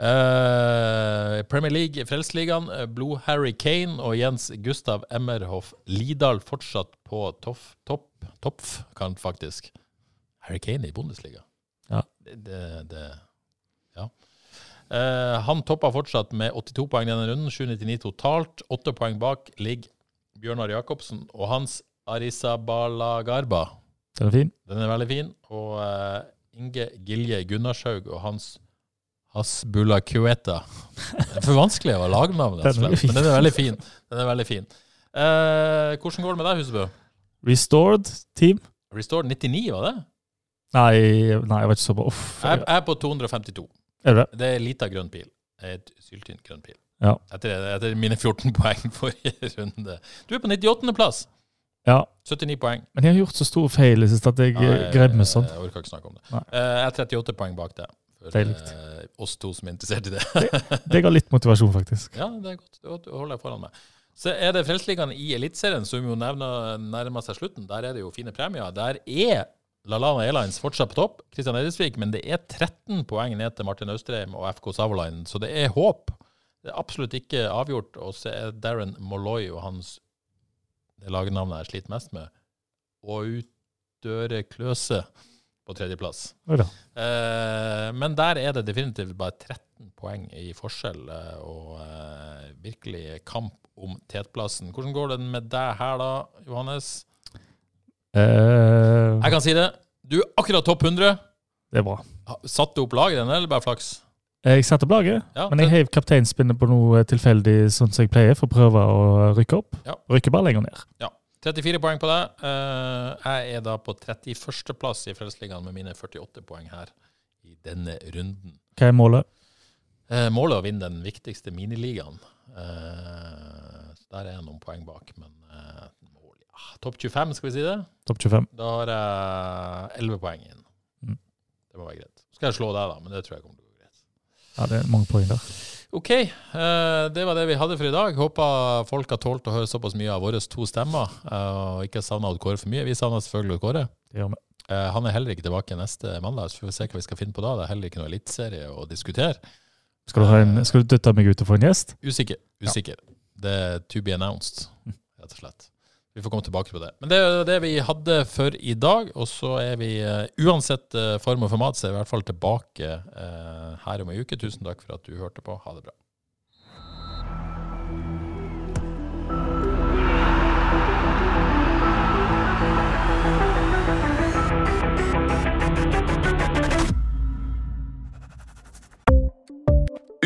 S1: Eh, Premier League, Frelsesligaen, eh, Blod Harry Kane og Jens Gustav Emmerhoff Lidal fortsatt på toff, topp, toppf, kan faktisk. Harry Kane i Bundesliga.
S2: Ja.
S1: Det, det, det Ja. Eh, han toppa fortsatt med 82 poeng denne runden, 799 totalt. Åtte poeng bak ligger Bjørnar Jacobsen og hans Arisabala Garba.
S2: Den er fin.
S1: Den er veldig fin. Og eh, Inge Gilje Gunnarshaug og hans Hasbula Kueta. Det er for vanskelig å lage navn, rett og
S2: Den er
S1: slett. Men
S2: fin.
S1: den er veldig fin. Den er veldig fin. Eh, hvordan går det med deg, Husebø?
S2: Restored team.
S1: Restore 99, var det?
S2: Nei, nei jeg var ikke så bra. Uff.
S1: Jeg jeg er på 252.
S2: Er det det?
S1: Det er lita grønn pil. Et syltynt grønn pil.
S2: Ja.
S1: Etter, etter mine 14 poeng forrige runde. Du er på 98. plass.
S2: Ja.
S1: 79 poeng.
S2: Men jeg har gjort så store feil i det siste at jeg eh, grev meg sånn.
S1: Jeg orker ikke snakke om det.
S2: Nei.
S1: Eh, Jeg er 38 poeng bak deg. For,
S2: Det er likt.
S1: eh, oss to som er interessert i det.
S2: Jeg har litt motivasjon, faktisk.
S1: Ja, det er godt. Du du holder deg foran meg. Så er det Frelsesligaen i Eliteserien som jo nevner, nærmer seg slutten. Der er det jo fine premier. Der er Lalana Airlines fortsatt på topp, Kristian Eidesvik, men det er 13 poeng ned til Martin Austrheim og FK Savolainen, så det er håp. Det er absolutt ikke avgjort. Og så er Darren Molloy og hans det lagnavnet jeg sliter mest med, Autøre Kløse, på tredjeplass.
S2: Oi da.
S1: Eh, men der er det definitivt bare 13 poeng i forskjell eh, og eh, virkelig kamp om tetplassen. Hvordan går det med deg her da, Johannes?
S2: Eh,
S1: Jeg kan si det. Du er akkurat topp 100.
S2: det er bra.
S1: Ha- Satte du opp laget den, eller bare flaks?
S2: Jeg satte opp laget,
S1: Ja,
S2: men jeg
S1: det-
S2: heiv kapteinspinnet på noe tilfeldig, sånn som jeg pleier, for å prøve å rykke opp.
S1: Ja.
S2: Rykker bare lenger ned.
S1: 34 poeng på deg. Eh, jeg er da på 31. plass i Frelsesligaen med mine 48 poeng her i denne runden.
S2: Hva er målet?
S1: Eh, målet er å vinne den viktigste miniligaen. Eh, så der er jeg noen poeng bak, men eh, mål, ja. topp 25, skal vi si det?
S2: Topp 25.
S1: Da har jeg 11 poeng inn.
S2: Mm.
S1: Det må være greit. Så skal jeg slå deg, da, men det tror jeg kommer til å gå greit.
S2: Ja, det er mange poeng der.
S1: OK, eh, det var det vi hadde for i dag. Håper folk har tålt å høre såpass mye av våre to stemmer, eh, og ikke savna Odd Kåre for mye. Vi savna selvfølgelig Odd Kåre.
S2: Det gjør vi.
S1: Eh, Han er heller ikke tilbake neste mandag, så får vi se hva vi skal finne på da. Det er heller ikke noe eliteserie å diskutere.
S2: Skal du, ha en, skal du dytte meg ut og få en gjest?
S1: Usikker. Usikker. Det er to be announced, rett og slett. Vi får komme tilbake på det. Men det er jo det vi hadde for i dag. Og så er vi eh, uansett eh, form og format, så er vi i hvert fall tilbake eh, her om ei uke. Tusen takk for at du hørte på. Ha det bra.